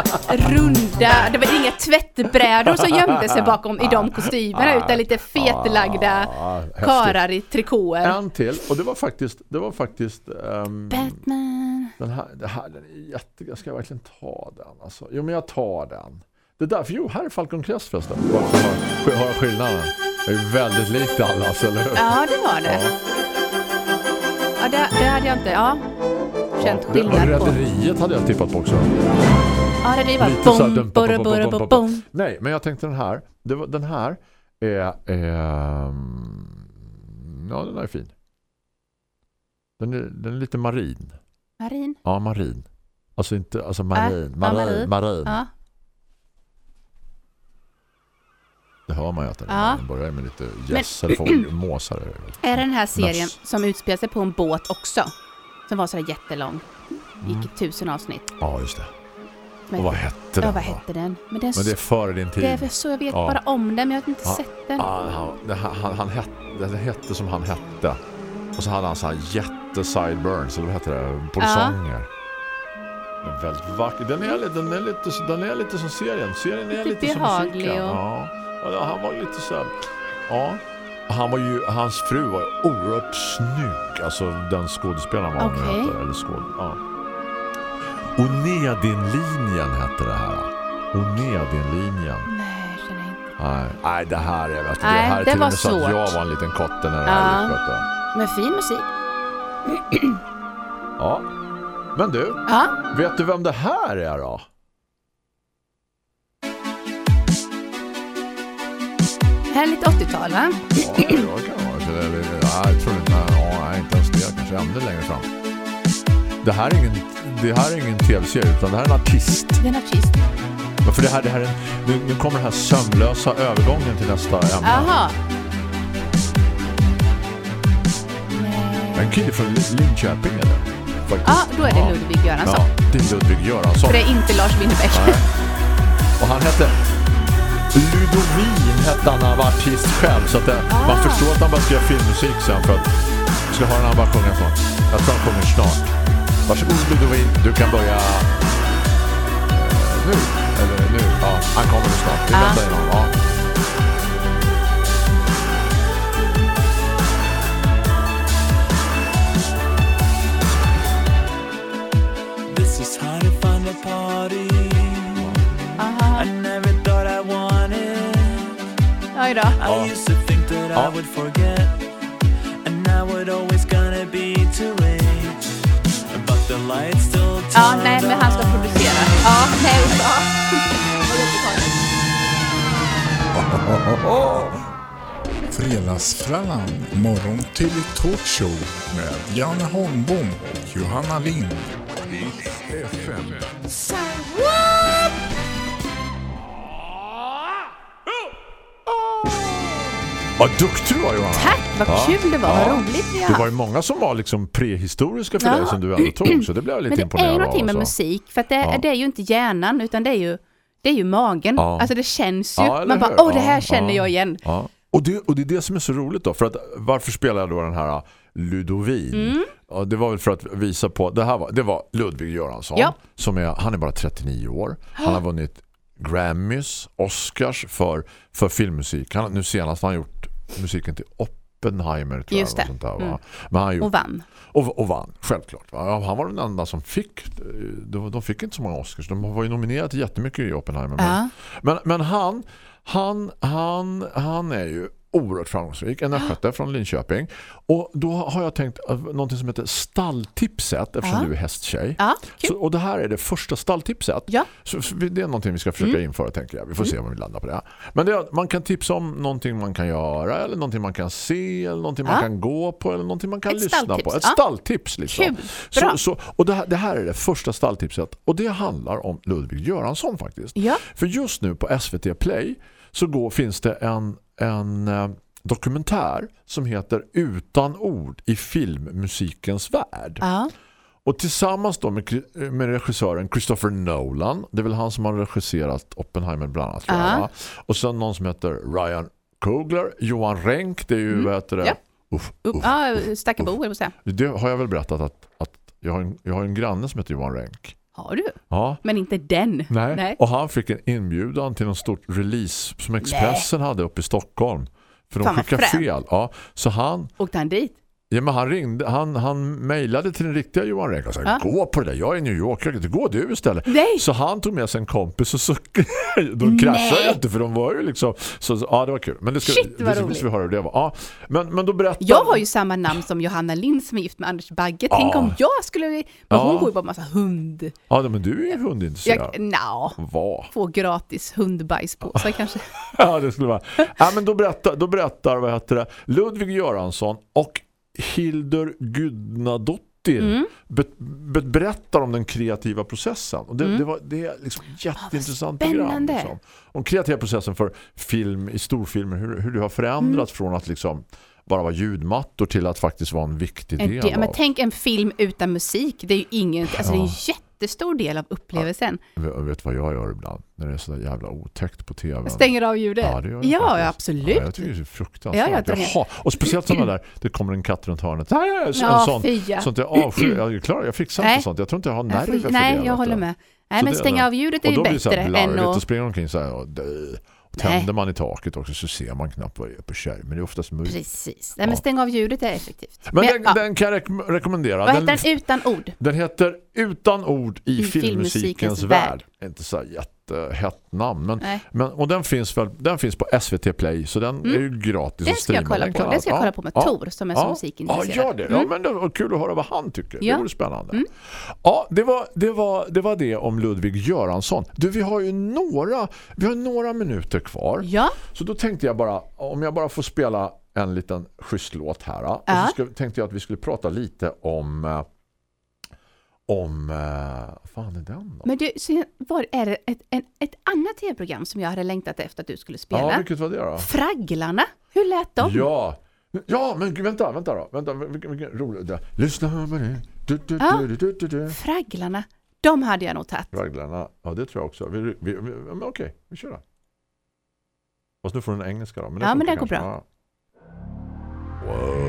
Speaker 3: runda. Det var inga tvättbrädor som gömde sig bakom i de kostymerna utan lite fetlagda
Speaker 2: Ah, häftigt.
Speaker 3: karar i trikåer.
Speaker 2: En till och det var faktiskt det var faktiskt ehm,
Speaker 3: Batman.
Speaker 2: den här det här den är jätte jag ska verkligen ta den alltså. Jo men jag tar den. Det där för jo här är Falcon Crest förresten. Varför har har jag skillnaden? Det är väldigt likt allas eller hur?
Speaker 3: Ja, det var det. Ja, det, det hade jag inte. Ja. Känt
Speaker 2: Det, och
Speaker 3: skillnad på.
Speaker 2: rederiet hade jag tippat på också.
Speaker 3: Ja, det är ju bara
Speaker 2: Lite så här, dum,
Speaker 3: bom,
Speaker 2: bum,
Speaker 3: borra,
Speaker 2: bum,
Speaker 3: borra,
Speaker 2: bum,
Speaker 3: borra,
Speaker 2: bum,
Speaker 3: bom.
Speaker 2: Nej, men jag tänkte den här. Det var, den här är... ehm, ja, den här är fin. Den är, den är lite marin.
Speaker 3: Marin.
Speaker 2: Ja, marin. Alltså inte, alltså marin,
Speaker 3: Äh, ja,
Speaker 2: marin,
Speaker 3: marin.
Speaker 2: marin.
Speaker 3: Ja.
Speaker 2: Det hör man ju att den,
Speaker 3: Ja.
Speaker 2: den börjar med lite gäss eller folk, måsar. är det väl.
Speaker 3: Är det den här serien
Speaker 2: Nass.
Speaker 3: som utspelar sig på en båt också? Som var sådär jättelång. Gick i tusen avsnitt.
Speaker 2: Ja, just det.
Speaker 3: Men,
Speaker 2: Mm. Och vad hette
Speaker 3: ja, vad
Speaker 2: den? då?
Speaker 3: hette den? Men den
Speaker 2: Men det är före din tid.
Speaker 3: det är väl så jag vet
Speaker 2: Ja.
Speaker 3: bara om den, men jag har inte
Speaker 2: Ja.
Speaker 3: sett den.
Speaker 2: Ja, Ah, han, det- han, han, han hette, det hette som han hette. Och så hade han så här jätte-sideburns, eller vad heter det? Polisonger. Den är väldigt vacker. Den är, li- den, är lite, så- den är lite som serien. Serien är
Speaker 3: Lite
Speaker 2: lite, som
Speaker 3: behaglig
Speaker 2: musiken.
Speaker 3: och-
Speaker 2: Ja. Och han var lite så här... Ja. Han var ju, hans fru var ju oerhört snygg. Alltså den skådespelaren var
Speaker 3: Okej.
Speaker 2: hon hette. Eller skåd, ja. Onedinlinjen hette det här. Onedinlinjen.
Speaker 3: Nej, jag känner inte.
Speaker 2: Nej, nej det här är vet du, det
Speaker 3: Nej,
Speaker 2: här
Speaker 3: det
Speaker 2: är till och
Speaker 3: var
Speaker 2: med så att
Speaker 3: svårt.
Speaker 2: jag var en liten kotte när det
Speaker 3: Ja.
Speaker 2: här gick, vet du.
Speaker 3: Men fin musik.
Speaker 2: Ja. Men du,
Speaker 3: Ja.
Speaker 2: vet du vem det här är då?
Speaker 3: Här är lite 80-tal, va?
Speaker 2: Ja, jag kan vara så det- det- Nej, jag tror inte, ja, nej, inte ens det, kanske ännu längre fram. Det här är ingen, det här är ingen tv-serie utan det här är en artist.
Speaker 3: Det är en artist.
Speaker 2: Ja, För det här, det här är en, nu, nu kommer den här sömlösa övergången till nästa ämne.
Speaker 3: Jaha.
Speaker 2: En kille från Lin- Linköping eller? Faktiskt.
Speaker 3: Ja, då är det
Speaker 2: Ja.
Speaker 3: Ludvig Göransson.
Speaker 2: Ja, det är Ludvig Göransson.
Speaker 3: För det är inte Lars Winnerbäck.
Speaker 2: Och han hette Ludovin hette han när han var artist själv så att det, man
Speaker 3: Ah.
Speaker 2: förstår att han bara ska göra filmmusik sen för att vi ska höra när han bara sjunger så. Jag tror han sjunger snart. Varsågod Ludovin, du kan börja eh, nu. Eller nu, ja, han kommer nu snart.
Speaker 3: Ah.
Speaker 2: Vi väntar in honom. Ja.
Speaker 8: This is how to find a party. I never thought I wanted.
Speaker 3: Oj då.
Speaker 8: I used to think that I would forget, and I would always gonna be too late. But the lights still
Speaker 3: Ja,
Speaker 8: turned
Speaker 3: nej, men han ska
Speaker 8: on.
Speaker 3: producera. Ja, nej, usch. Ja. Och det är 80-talet.
Speaker 1: Fredagsfrallan, morgon till talkshow med Janne Holmbom och Johanna Lind. FM.
Speaker 2: Vad duktig du var Johanna.
Speaker 3: Tack, vad kul det var. Vad roligt vi har
Speaker 2: Det var
Speaker 3: haft.
Speaker 2: ju många som var liksom prehistoriska för
Speaker 3: Ja.
Speaker 2: dig som du ändå tog så det blev jag lite
Speaker 3: Men det är
Speaker 2: imponerad
Speaker 3: ju
Speaker 2: av.
Speaker 3: någonting med
Speaker 2: alltså.
Speaker 3: musik, för att det,
Speaker 2: Ja.
Speaker 3: det är ju inte hjärnan, utan det är ju, det är ju magen.
Speaker 2: Ja.
Speaker 3: Alltså det känns ju.
Speaker 2: Ja, eller
Speaker 3: Man bara,
Speaker 2: hur?
Speaker 3: åh det
Speaker 2: Ja,
Speaker 3: här känner
Speaker 2: ja.
Speaker 3: jag igen.
Speaker 2: Ja. Och, det, och det är det som är så roligt då. För att, varför spelar jag då den här ah, Ludovin?
Speaker 3: Mm.
Speaker 2: Ja, det var väl för att visa på... Det här var, det var Ludvig Göransson.
Speaker 3: Ja.
Speaker 2: Som är, han är bara 39 år. Han har vunnit Grammys, Oscars för, för filmmusik. Han, nu senast har han gjort musiken till Oppenheimer tror
Speaker 3: Just
Speaker 2: jag.
Speaker 3: det.
Speaker 2: Och, sånt där, va?
Speaker 3: Mm.
Speaker 2: Men han gjorde,
Speaker 3: och vann.
Speaker 2: och, och vann, självklart. Va? Han var den enda som fick, eh, de, de fick inte så många Oscars. De var ju nominerade till jättemycket i Oppenheimer. Men,
Speaker 3: Ja.
Speaker 2: men, men han, han, han, han är ju oerhört framgångsrik. En östgöte från Linköping. Och då har jag tänkt eh, någonting som heter stalltipset, eftersom
Speaker 3: Ja.
Speaker 2: du är hästtjej.
Speaker 3: Ja, kul.
Speaker 2: Så, och det här är det första stalltipset.
Speaker 3: Ja. Mm.
Speaker 2: Så, så det är någonting vi ska försöka införa tänker jag. Vi får se om vi landar på det. Men det, är att man kan tipsa om någonting man kan göra eller någonting man kan se eller någonting man
Speaker 3: Ja.
Speaker 2: kan gå på eller någonting man kan
Speaker 3: Ett
Speaker 2: lyssna
Speaker 3: stalltips,
Speaker 2: på. Ett
Speaker 3: ja.
Speaker 2: stalltips liksom.
Speaker 3: Kul, bra.
Speaker 2: Så, så, och det här, det här är det första stalltipset och det handlar om Ludvig Göransson faktiskt.
Speaker 3: Ja.
Speaker 2: För just nu på SVT Play så går, finns det en, en eh, dokumentär som heter Utan ord i filmmusikens värld.
Speaker 3: Ja.
Speaker 2: Och tillsammans då med, kri- eh, med regissören Christopher Nolan, det är väl han som har regisserat Oppenheimer bland annat. tror jag,
Speaker 3: Ja.
Speaker 2: va? Och sen någon som heter Ryan Coogler, Johan Renck, det är ju vad heter det?
Speaker 3: Mm. Ja.
Speaker 2: Uff,
Speaker 3: Upp-
Speaker 2: uff.
Speaker 3: Ja, stackabo, eller vad säga.
Speaker 2: Det har jag väl berättat att, att jag, har en, jag har en granne som heter Johan Renck.
Speaker 3: Har du?
Speaker 2: Ja.
Speaker 3: Men inte den.
Speaker 2: Nej.
Speaker 3: Nej.
Speaker 2: Och han fick en inbjudan till en stor release som Expressen hade uppe i Stockholm. För de
Speaker 3: Fan, vad
Speaker 2: skickade
Speaker 3: fränt.
Speaker 2: fel. Ja. Så han,
Speaker 3: Åkte han dit?
Speaker 2: Ja, men han ringde, han, han mejlade till den riktiga Johan Renck och sa,
Speaker 3: Ja.
Speaker 2: gå på det där, jag är i New York, jag kan inte gå du istället.
Speaker 3: Nej.
Speaker 2: Så han tog med sig en kompis och så, de kraschade
Speaker 3: Nej.
Speaker 2: inte för de var ju liksom, så, så ja det var kul. Men det ska,
Speaker 3: Shit, vad
Speaker 2: det ska-
Speaker 3: roligt.
Speaker 2: måste vi höra hur det var. Ja, men, men då berättar
Speaker 3: Jag har ju samma namn som Johanna Lind som är gift med Anders Bagge. Tänk
Speaker 2: Ja.
Speaker 3: om jag skulle... Men hon
Speaker 2: Ja.
Speaker 3: går ju bara massa hund.
Speaker 2: Ja men du är ju hundintresserad.
Speaker 3: Jag, nja,
Speaker 2: Vad?
Speaker 3: få gratis hundbajspåsar kanske.
Speaker 2: Ja det skulle vara. Ja men då berättar, då berättar vad heter det, Ludvig Göransson och Hildur Gudnadottir
Speaker 3: Mm.
Speaker 2: be, be, berättar om den kreativa processen. Och det, det, var, det är liksom ett jätteintressant program.
Speaker 3: Mm. spännande.
Speaker 2: Liksom. Om kreativa processen för film i storfilmer, hur, hur du har
Speaker 3: Mm.
Speaker 2: förändrats från att liksom bara vara ljudmattor till att faktiskt vara en viktig
Speaker 3: En
Speaker 2: del
Speaker 3: del, men
Speaker 2: av
Speaker 3: tänk en film utan musik. Det är ju inget, alltså det är en jättestor del av upplevelsen.
Speaker 2: Jag vet vad jag gör ibland när det är sådär jävla otäckt på tv.
Speaker 3: Stänger av ljudet.
Speaker 2: Ja, det gör jag
Speaker 3: Eh, ja,
Speaker 2: faktiskt.
Speaker 3: absolut.
Speaker 2: Ja, jag tycker det är fruktansvärt.
Speaker 3: Ja, jag drar ner.
Speaker 2: Jaha. Och speciellt sådana där, det kommer en katt runt hörnet. Nej, nej, en
Speaker 3: Ja,
Speaker 2: sån,
Speaker 3: fy, ja.
Speaker 2: sånt jag avskyr. Jag, klarar, jag fixar
Speaker 3: Nej.
Speaker 2: inte sånt. Jag tror inte jag har
Speaker 3: Jag får-
Speaker 2: nerver för det.
Speaker 3: Nej,
Speaker 2: vet
Speaker 3: jag
Speaker 2: du.
Speaker 3: håller med. Nej,
Speaker 2: Så
Speaker 3: men
Speaker 2: det-
Speaker 3: stänga av ljudet är
Speaker 2: och
Speaker 3: ju
Speaker 2: då blir det så
Speaker 3: bättre
Speaker 2: här
Speaker 3: än
Speaker 2: blarrigt och
Speaker 3: att...
Speaker 2: springer omkring så här och dö. Och
Speaker 3: Nej.
Speaker 2: tänder man i taket också så ser man knappt vad det är på skärmen. Men det är oftast mörkt.
Speaker 3: Precis. Nej, men
Speaker 2: Ja.
Speaker 3: stäng av ljudet är effektivt.
Speaker 2: Men,
Speaker 3: Men,
Speaker 2: den,
Speaker 3: ja.
Speaker 2: den kan jag rek- rekommendera.
Speaker 3: Vad heter
Speaker 2: den,
Speaker 3: den utan ord?
Speaker 2: den heter Utan ord i,
Speaker 3: I filmmusikens
Speaker 2: filmmusikens värld. Inte så här jättehett namn. Men
Speaker 3: Nej. Mm.
Speaker 2: Men, och den finns, väl, den finns på SVT Play så den är ju gratis
Speaker 3: Den
Speaker 2: att
Speaker 3: ska jag
Speaker 2: streama.
Speaker 3: kolla
Speaker 2: Den
Speaker 3: på.
Speaker 2: kan
Speaker 3: Den ska jag
Speaker 2: alla-
Speaker 3: kolla på med Tor som är så musikintresserad.
Speaker 2: Ja, gör det. Ja,
Speaker 3: Mm.
Speaker 2: men det var kul att höra vad han
Speaker 3: Ja.
Speaker 2: tycker.
Speaker 3: Mm.
Speaker 2: Det vore spännande. Ja, det var, det, var, det var det om Ludvig Göransson. Du, vi har ju några, vi har några minuter kvar.
Speaker 3: Ja,
Speaker 2: Så då tänkte jag bara, om jag bara får spela en liten schysst låt här. Och
Speaker 3: Ja.
Speaker 2: så ska, tänkte jag att vi skulle prata lite om... eh, Om... eh, Vad fan är den då?
Speaker 3: men du, så var, är det ett, en, ett annat tv-program som jag hade längtat efter att du skulle spela?
Speaker 2: ja, vilket var det då?
Speaker 3: Fragglarna, hur lät de?
Speaker 2: Ja. Ja, men gud, vänta, vänta då. Vänta, vilken, vilken rolig. Där. Lyssna på det. Du, du,
Speaker 3: Ja.
Speaker 2: du, du, du, du.
Speaker 3: Fragglarna, de hade jag nog tagit.
Speaker 2: Raglarna. Ja, det tror jag också. Vi, vi, vi, men okej, vi kör då. Fast nu får du den engelska då. Men
Speaker 3: Ja, men
Speaker 2: funkar
Speaker 3: det går
Speaker 2: kanske.
Speaker 3: bra.
Speaker 2: Ja. Wow.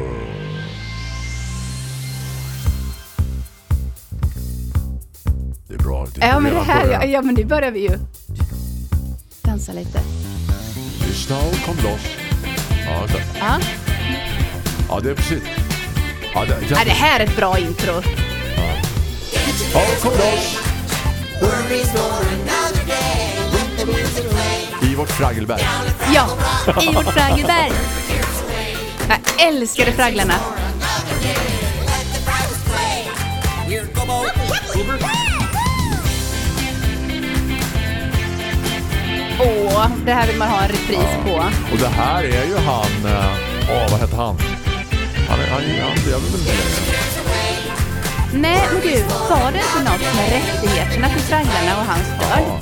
Speaker 2: Det är bra. Det är
Speaker 3: Ja,
Speaker 2: bra
Speaker 3: men det
Speaker 2: redan
Speaker 3: här,
Speaker 2: början.
Speaker 3: ja, ja, men det börjar vi ju. Dansa lite.
Speaker 2: Lyssna och kom loss. Ja, det,
Speaker 3: Ja.
Speaker 2: ja, det är precis. Ja, det,
Speaker 3: ja, det här är ett bra intro.
Speaker 2: Ja, kom loss. I vårt fraggelberg.
Speaker 3: Ja, i vårt Fraggelberg. Jag älskade Fragglarna. Åh, det här vill man ha en repris på.
Speaker 2: Och det här är ju han... eh, Åh, vad heter han? Han är... Han, han, han jag vet inte längre.
Speaker 3: Nej, men du, sa det inte något med rättigheterna till Fragglarna och hans far?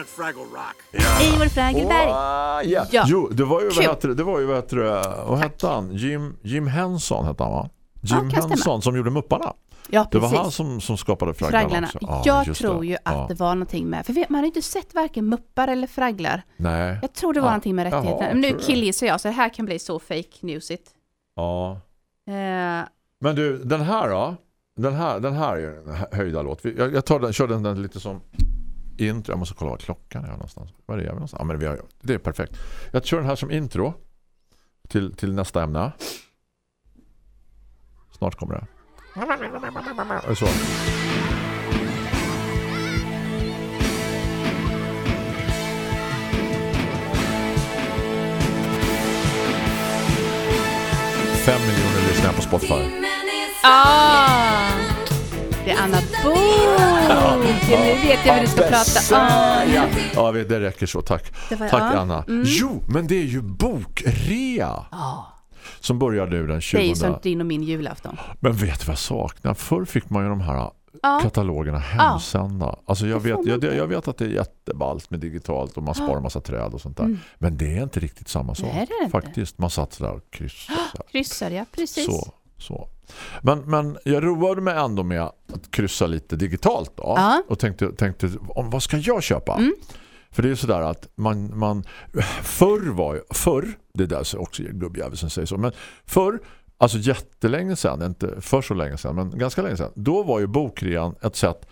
Speaker 3: I vår Fraggelberg.
Speaker 2: Åh, yeah.
Speaker 3: Ja.
Speaker 2: Jo, det var ju vad
Speaker 3: Kul.
Speaker 2: heter det? Det var ju vad heter det? Vad hette han? Jim, Jim Henson hette han va? Jim
Speaker 3: kan stämma.
Speaker 2: Henson som gjorde Mupparna.
Speaker 3: Ja,
Speaker 2: Det
Speaker 3: precis.
Speaker 2: var han som, som skapade fragglarna.
Speaker 3: Fragglarna.
Speaker 2: också. Ja,
Speaker 3: jag
Speaker 2: just
Speaker 3: tror ju att
Speaker 2: Ja.
Speaker 3: det var någonting med, för vi- man har ju inte sett varken muppar eller fragglar.
Speaker 2: Nej.
Speaker 3: Jag tror det var
Speaker 2: Ja.
Speaker 3: någonting med
Speaker 2: Jaha,
Speaker 3: rättigheterna.
Speaker 2: jag
Speaker 3: Men nu
Speaker 2: tror det.
Speaker 3: killgissar jag, så det här kan bli så fake newsigt.
Speaker 2: Ja.
Speaker 3: Eh,
Speaker 2: Men du, den här då? Den här, den här är ju en höjda låt. Vi- Jag, jag tar den, kör den, den lite som intro. Jag måste kolla vad klockan är någonstans. Var är vi någonstans? Ja, men vi har, det är perfekt. Jag kör den här som intro till, till nästa ämne. Snart kommer det. Och Så. Fem miljoner lyssnare på Spotify.
Speaker 3: Ah, det är Anna Bok. Nu vet jag vad du ska prata om.
Speaker 2: Ja, vi- det räcker så. Tack.
Speaker 3: Det var-
Speaker 2: Tack
Speaker 3: ja. Mm.
Speaker 2: Anna. Jo, men det är ju bokrea. Som börjar nu den 20.
Speaker 3: Det är ju som din och min julafton.
Speaker 2: Men vet du vad jag saknar? Förr fick man ju de här äh,
Speaker 3: Ja.
Speaker 2: katalogerna hemsända. Alltså jag vet, jag, jag vet att det är jätteballt med digitalt och man sparar massa träd och sånt där. Men det är inte riktigt samma sak.
Speaker 3: Mm. Nej, det är det inte.
Speaker 2: Faktiskt, man satt där och kryssade. så här.
Speaker 3: Kryssar jag, precis.
Speaker 2: Så, så. Men, men jag roade mig ändå med att kryssa lite digitalt då.
Speaker 3: Ja. Mm.
Speaker 2: Och tänkte, tänkte om, vad ska jag köpa? För det är ju sådär att man, man förr var ju, förr, det är där så också gubbjäveln som säger så, men förr, alltså jättelänge sedan, inte för så länge sedan, men ganska länge sedan, då var ju bokrean ett sätt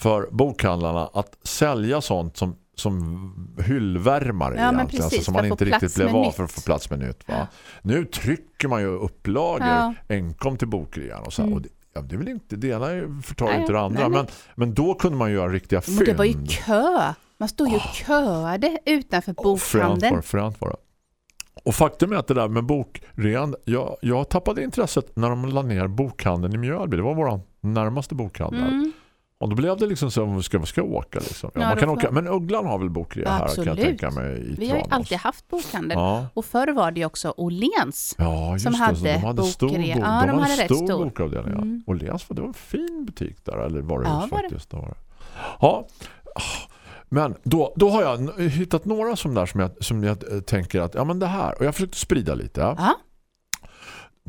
Speaker 2: för bokhandlarna att sälja sånt som, som hyllvärmare
Speaker 3: Ja, men
Speaker 2: egentligen,
Speaker 3: precis,
Speaker 2: alltså, som
Speaker 3: för
Speaker 2: man
Speaker 3: att få
Speaker 2: inte riktigt
Speaker 3: plats
Speaker 2: blev
Speaker 3: med
Speaker 2: av
Speaker 3: nytt.
Speaker 2: för att få plats med nytt. Va? Nu trycker man ju upplagor
Speaker 3: Ja. Mm.
Speaker 2: enkom till bokrean och så här, och det, ja, det är väl inte det ena förtar
Speaker 3: Nej,
Speaker 2: inte det andra
Speaker 3: nej, nej.
Speaker 2: Men, men då kunde man ju göra riktiga fynd.
Speaker 3: Men det var ju kö. Man stod ju
Speaker 2: Ah.
Speaker 3: och köade utanför
Speaker 2: Fränt var,
Speaker 3: bokhandeln.
Speaker 2: det, fränt var det. Och faktum är att det där med bokrean, jag, jag tappade intresset när de la ner bokhandeln i Mjölby. Det var vår närmaste bokhandel.
Speaker 3: Mm.
Speaker 2: Och då blev det liksom så, vad ska, vad ska jag åka liksom? Ja,
Speaker 3: Ja,
Speaker 2: man
Speaker 3: då
Speaker 2: kan
Speaker 3: får-
Speaker 2: åka, men Ugglan har väl bokrea här kan jag
Speaker 3: Absolut.
Speaker 2: tänka mig i
Speaker 3: Vi har ju
Speaker 2: Tranås.
Speaker 3: alltid haft bokhandel.
Speaker 2: Ja.
Speaker 3: Och förr var det ju också Åhléns.
Speaker 2: Ja, just
Speaker 3: som
Speaker 2: det.
Speaker 3: hade
Speaker 2: så de hade stor, bok,
Speaker 3: bokrea.
Speaker 2: de
Speaker 3: Ja,
Speaker 2: hade
Speaker 3: de hade rätt
Speaker 2: stor,
Speaker 3: stor.
Speaker 2: bokavdelning.
Speaker 3: Mm.
Speaker 2: Och Lens, det var en fin butik där, eller varuhus
Speaker 3: Ja, var det.
Speaker 2: faktiskt. Det var det. Ja, Ah. men då, då har jag n- hittat några som där som jag, som jag eh, tänker att, ja men det här, och jag försökte sprida lite.
Speaker 3: Ja.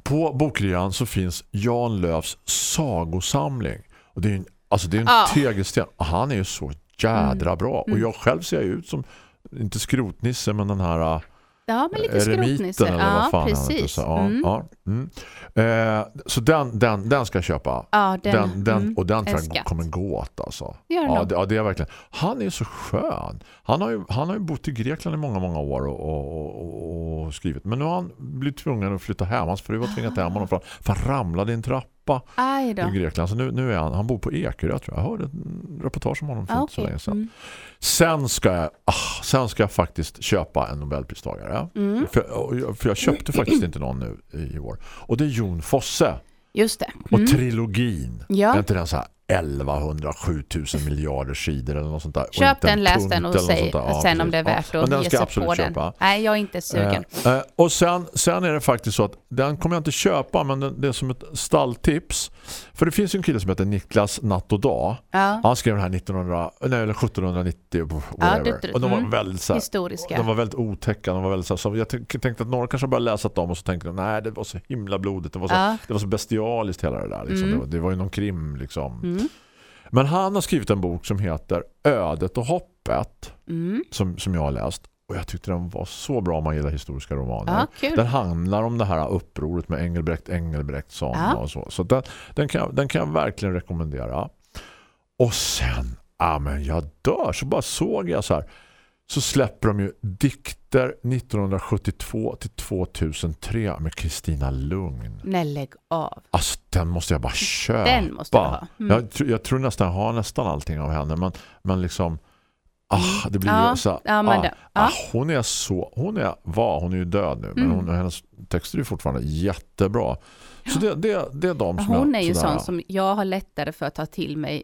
Speaker 2: På bokrean så finns Jan Löfs sagosamling. Och det är ju en, alltså det är en
Speaker 3: Ja. Mm.
Speaker 2: tegelsten. Och han är ju så jädra bra. Och jag själv ser ju ut som, inte skrotnisse men den här... eh,
Speaker 3: Ja, men lite
Speaker 2: Eremiten
Speaker 3: skrotnisse.
Speaker 2: eller vad fan
Speaker 3: Ja,
Speaker 2: han heter.
Speaker 3: precis.
Speaker 2: Så, ja,
Speaker 3: Mm.
Speaker 2: ja, mm. Eh, så den, den, den ska jag köpa.
Speaker 3: Ja, den.
Speaker 2: den, den,
Speaker 3: mm.
Speaker 2: Och den tror
Speaker 3: En
Speaker 2: jag
Speaker 3: skatt.
Speaker 2: kommer gå åt alltså.
Speaker 3: Det gör den
Speaker 2: ja,
Speaker 3: nog.
Speaker 2: det, ja, det är verkligen. Han är så skön. Han har ju, han har ju bott i Grekland i många, många år och, och, och, och skrivit. Men nu har han blivit tvungen att flytta hem. Hans fru har tvingat hem honom för han, för han ramlade i en trappa
Speaker 3: Aj
Speaker 2: i
Speaker 3: då.
Speaker 2: Grekland. Så nu, nu är han, han bor på Ekerö tror jag. Jag hörde en reportage om honom för
Speaker 3: Ah,
Speaker 2: inte så
Speaker 3: okej.
Speaker 2: länge sedan.
Speaker 3: Mm.
Speaker 2: Sen ska jag, ah, sen ska jag faktiskt köpa en Nobelpristagare.
Speaker 3: Mm.
Speaker 2: För, och jag- för jag köpte faktiskt inte någon nu i år. Och det är Jon Fosse.
Speaker 3: Just det.
Speaker 2: Och trilogin.
Speaker 3: Mm. Ja.
Speaker 2: Är inte den så här 1100 7000 miljarder sidor eller något sånt där. Och
Speaker 3: Köp
Speaker 2: inte en
Speaker 3: den, läs
Speaker 2: punkt
Speaker 3: den
Speaker 2: eller
Speaker 3: och
Speaker 2: något
Speaker 3: säg
Speaker 2: sånt där. Ja,
Speaker 3: sen om
Speaker 2: precis.
Speaker 3: det är värt
Speaker 2: Ja, men
Speaker 3: att
Speaker 2: den
Speaker 3: ge
Speaker 2: ska
Speaker 3: sig
Speaker 2: jag absolut
Speaker 3: på
Speaker 2: köpa.
Speaker 3: den. Nej, jag är inte sugen.
Speaker 2: Eh, eh, och sen, sen är det faktiskt så att den kommer jag inte köpa men den, det är som ett stalltips. För det finns ju en kille som heter Niklas Natt och Dag.
Speaker 3: Ja.
Speaker 2: Han skrev den här 1900, nej, eller 1790 whatever.
Speaker 3: det- det-
Speaker 2: och de var
Speaker 3: mm.
Speaker 2: väldigt så här,
Speaker 3: Historiska.
Speaker 2: De Äh, var väldigt otäcka. De var väldigt, så här, så jag tänk- tänkte att några kanske bara läsat dem och så tänkte de nej det var så himla blodigt. Det var så,
Speaker 3: Ja. Mm.
Speaker 2: det var så bestialiskt hela det där. Liksom. Det, var, det var ju någon krim liksom. Men han har skrivit en bok som heter Ödet och hoppet
Speaker 3: Mm.
Speaker 2: som, som jag har läst. Och jag tyckte den var så bra om man gillar historiska romaner.
Speaker 3: Ja, kul.
Speaker 2: Den handlar om det här upproret med Engelbrekt, Engelbrektsson
Speaker 3: Ja.
Speaker 2: och så. Så den, den, kan, jag- den kan jag verkligen rekommendera. Och sen, ja men jag dör. Så bara såg jag så här. Så släpper de ju dikter 1972 till 2003 med Kristina Lugn.
Speaker 3: Nej, lägg av.
Speaker 2: Alltså den måste jag bara köpa.
Speaker 3: Den måste du ha. Mm.
Speaker 2: Jag, tr- jag tror nästan jag har nästan allting av henne. Men, men liksom, ah, det blir ju
Speaker 3: Mm. Ja,
Speaker 2: så här,
Speaker 3: ja, men
Speaker 2: ah,
Speaker 3: det- ja.
Speaker 2: ah, hon är så, hon är, var, hon är ju död nu. Men
Speaker 3: Mm.
Speaker 2: hon, hennes texter är fortfarande jättebra. Så det, det, det är de som
Speaker 3: Hon är
Speaker 2: jag,
Speaker 3: ju
Speaker 2: sådär,
Speaker 3: sån som jag har lättare för att ta till mig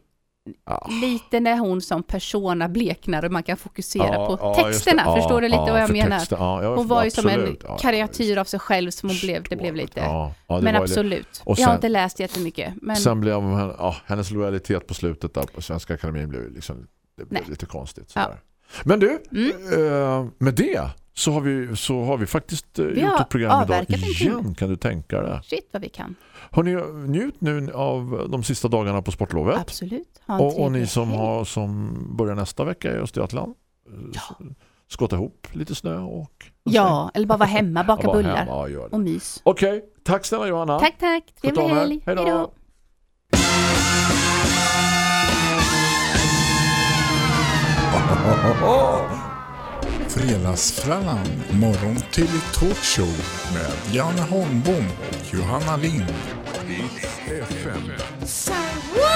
Speaker 2: Ja.
Speaker 3: lite när hon som persona bleknar och man kan fokusera
Speaker 2: Ja,
Speaker 3: på
Speaker 2: ja, just det.
Speaker 3: texterna.
Speaker 2: Ja,
Speaker 3: Förstår du lite
Speaker 2: ja,
Speaker 3: vad jag
Speaker 2: för
Speaker 3: menar?
Speaker 2: texter. Ja, ja,
Speaker 3: Hon var ju
Speaker 2: absolut.
Speaker 3: som
Speaker 2: Ja,
Speaker 3: en
Speaker 2: ja,
Speaker 3: karikatyr av sig själv som hon blev. Det
Speaker 2: förstår
Speaker 3: blev
Speaker 2: det.
Speaker 3: lite.
Speaker 2: Ja, ja, det
Speaker 3: men
Speaker 2: var ju det.
Speaker 3: absolut.
Speaker 2: Och
Speaker 3: jag
Speaker 2: sen-
Speaker 3: har inte läst jättemycket. Men
Speaker 2: Sen blev hon, ja, hennes lojalitet på slutet där på Svenska Akademin blev ju liksom, det blev
Speaker 3: Nej.
Speaker 2: lite konstigt.
Speaker 3: Ja. Mm.
Speaker 2: Sådär. Men du, eh, med det så har vi, så har vi faktiskt eh, gjort
Speaker 3: har
Speaker 2: ett program idag
Speaker 3: avverkat en timme.
Speaker 2: igen, kan du tänka dig.
Speaker 3: shit vad vi kan.
Speaker 2: Hörrni, njut nu av de sista dagarna på sportlovet.
Speaker 3: Absolut. Ha en
Speaker 2: Och, och ni
Speaker 3: trevlig
Speaker 2: som,
Speaker 3: helg.
Speaker 2: har, som börjar nästa vecka i Östergötland, ja. skotta ihop lite snö och...
Speaker 3: Ja, eller bara vara hemma, baka
Speaker 2: Ja, bara
Speaker 3: bullar
Speaker 2: hemma, ja, gör det.
Speaker 3: och mys.
Speaker 2: Okej, tack snälla Johanna.
Speaker 3: Tack, tack.
Speaker 2: Sköt
Speaker 3: Trevlig
Speaker 2: om er.
Speaker 3: helg.
Speaker 2: Hej då.
Speaker 1: Fredagsfrallan, morgon till talkshow med Janne Holmbom och Johanna Lind. FM.
Speaker 3: Så här, woo!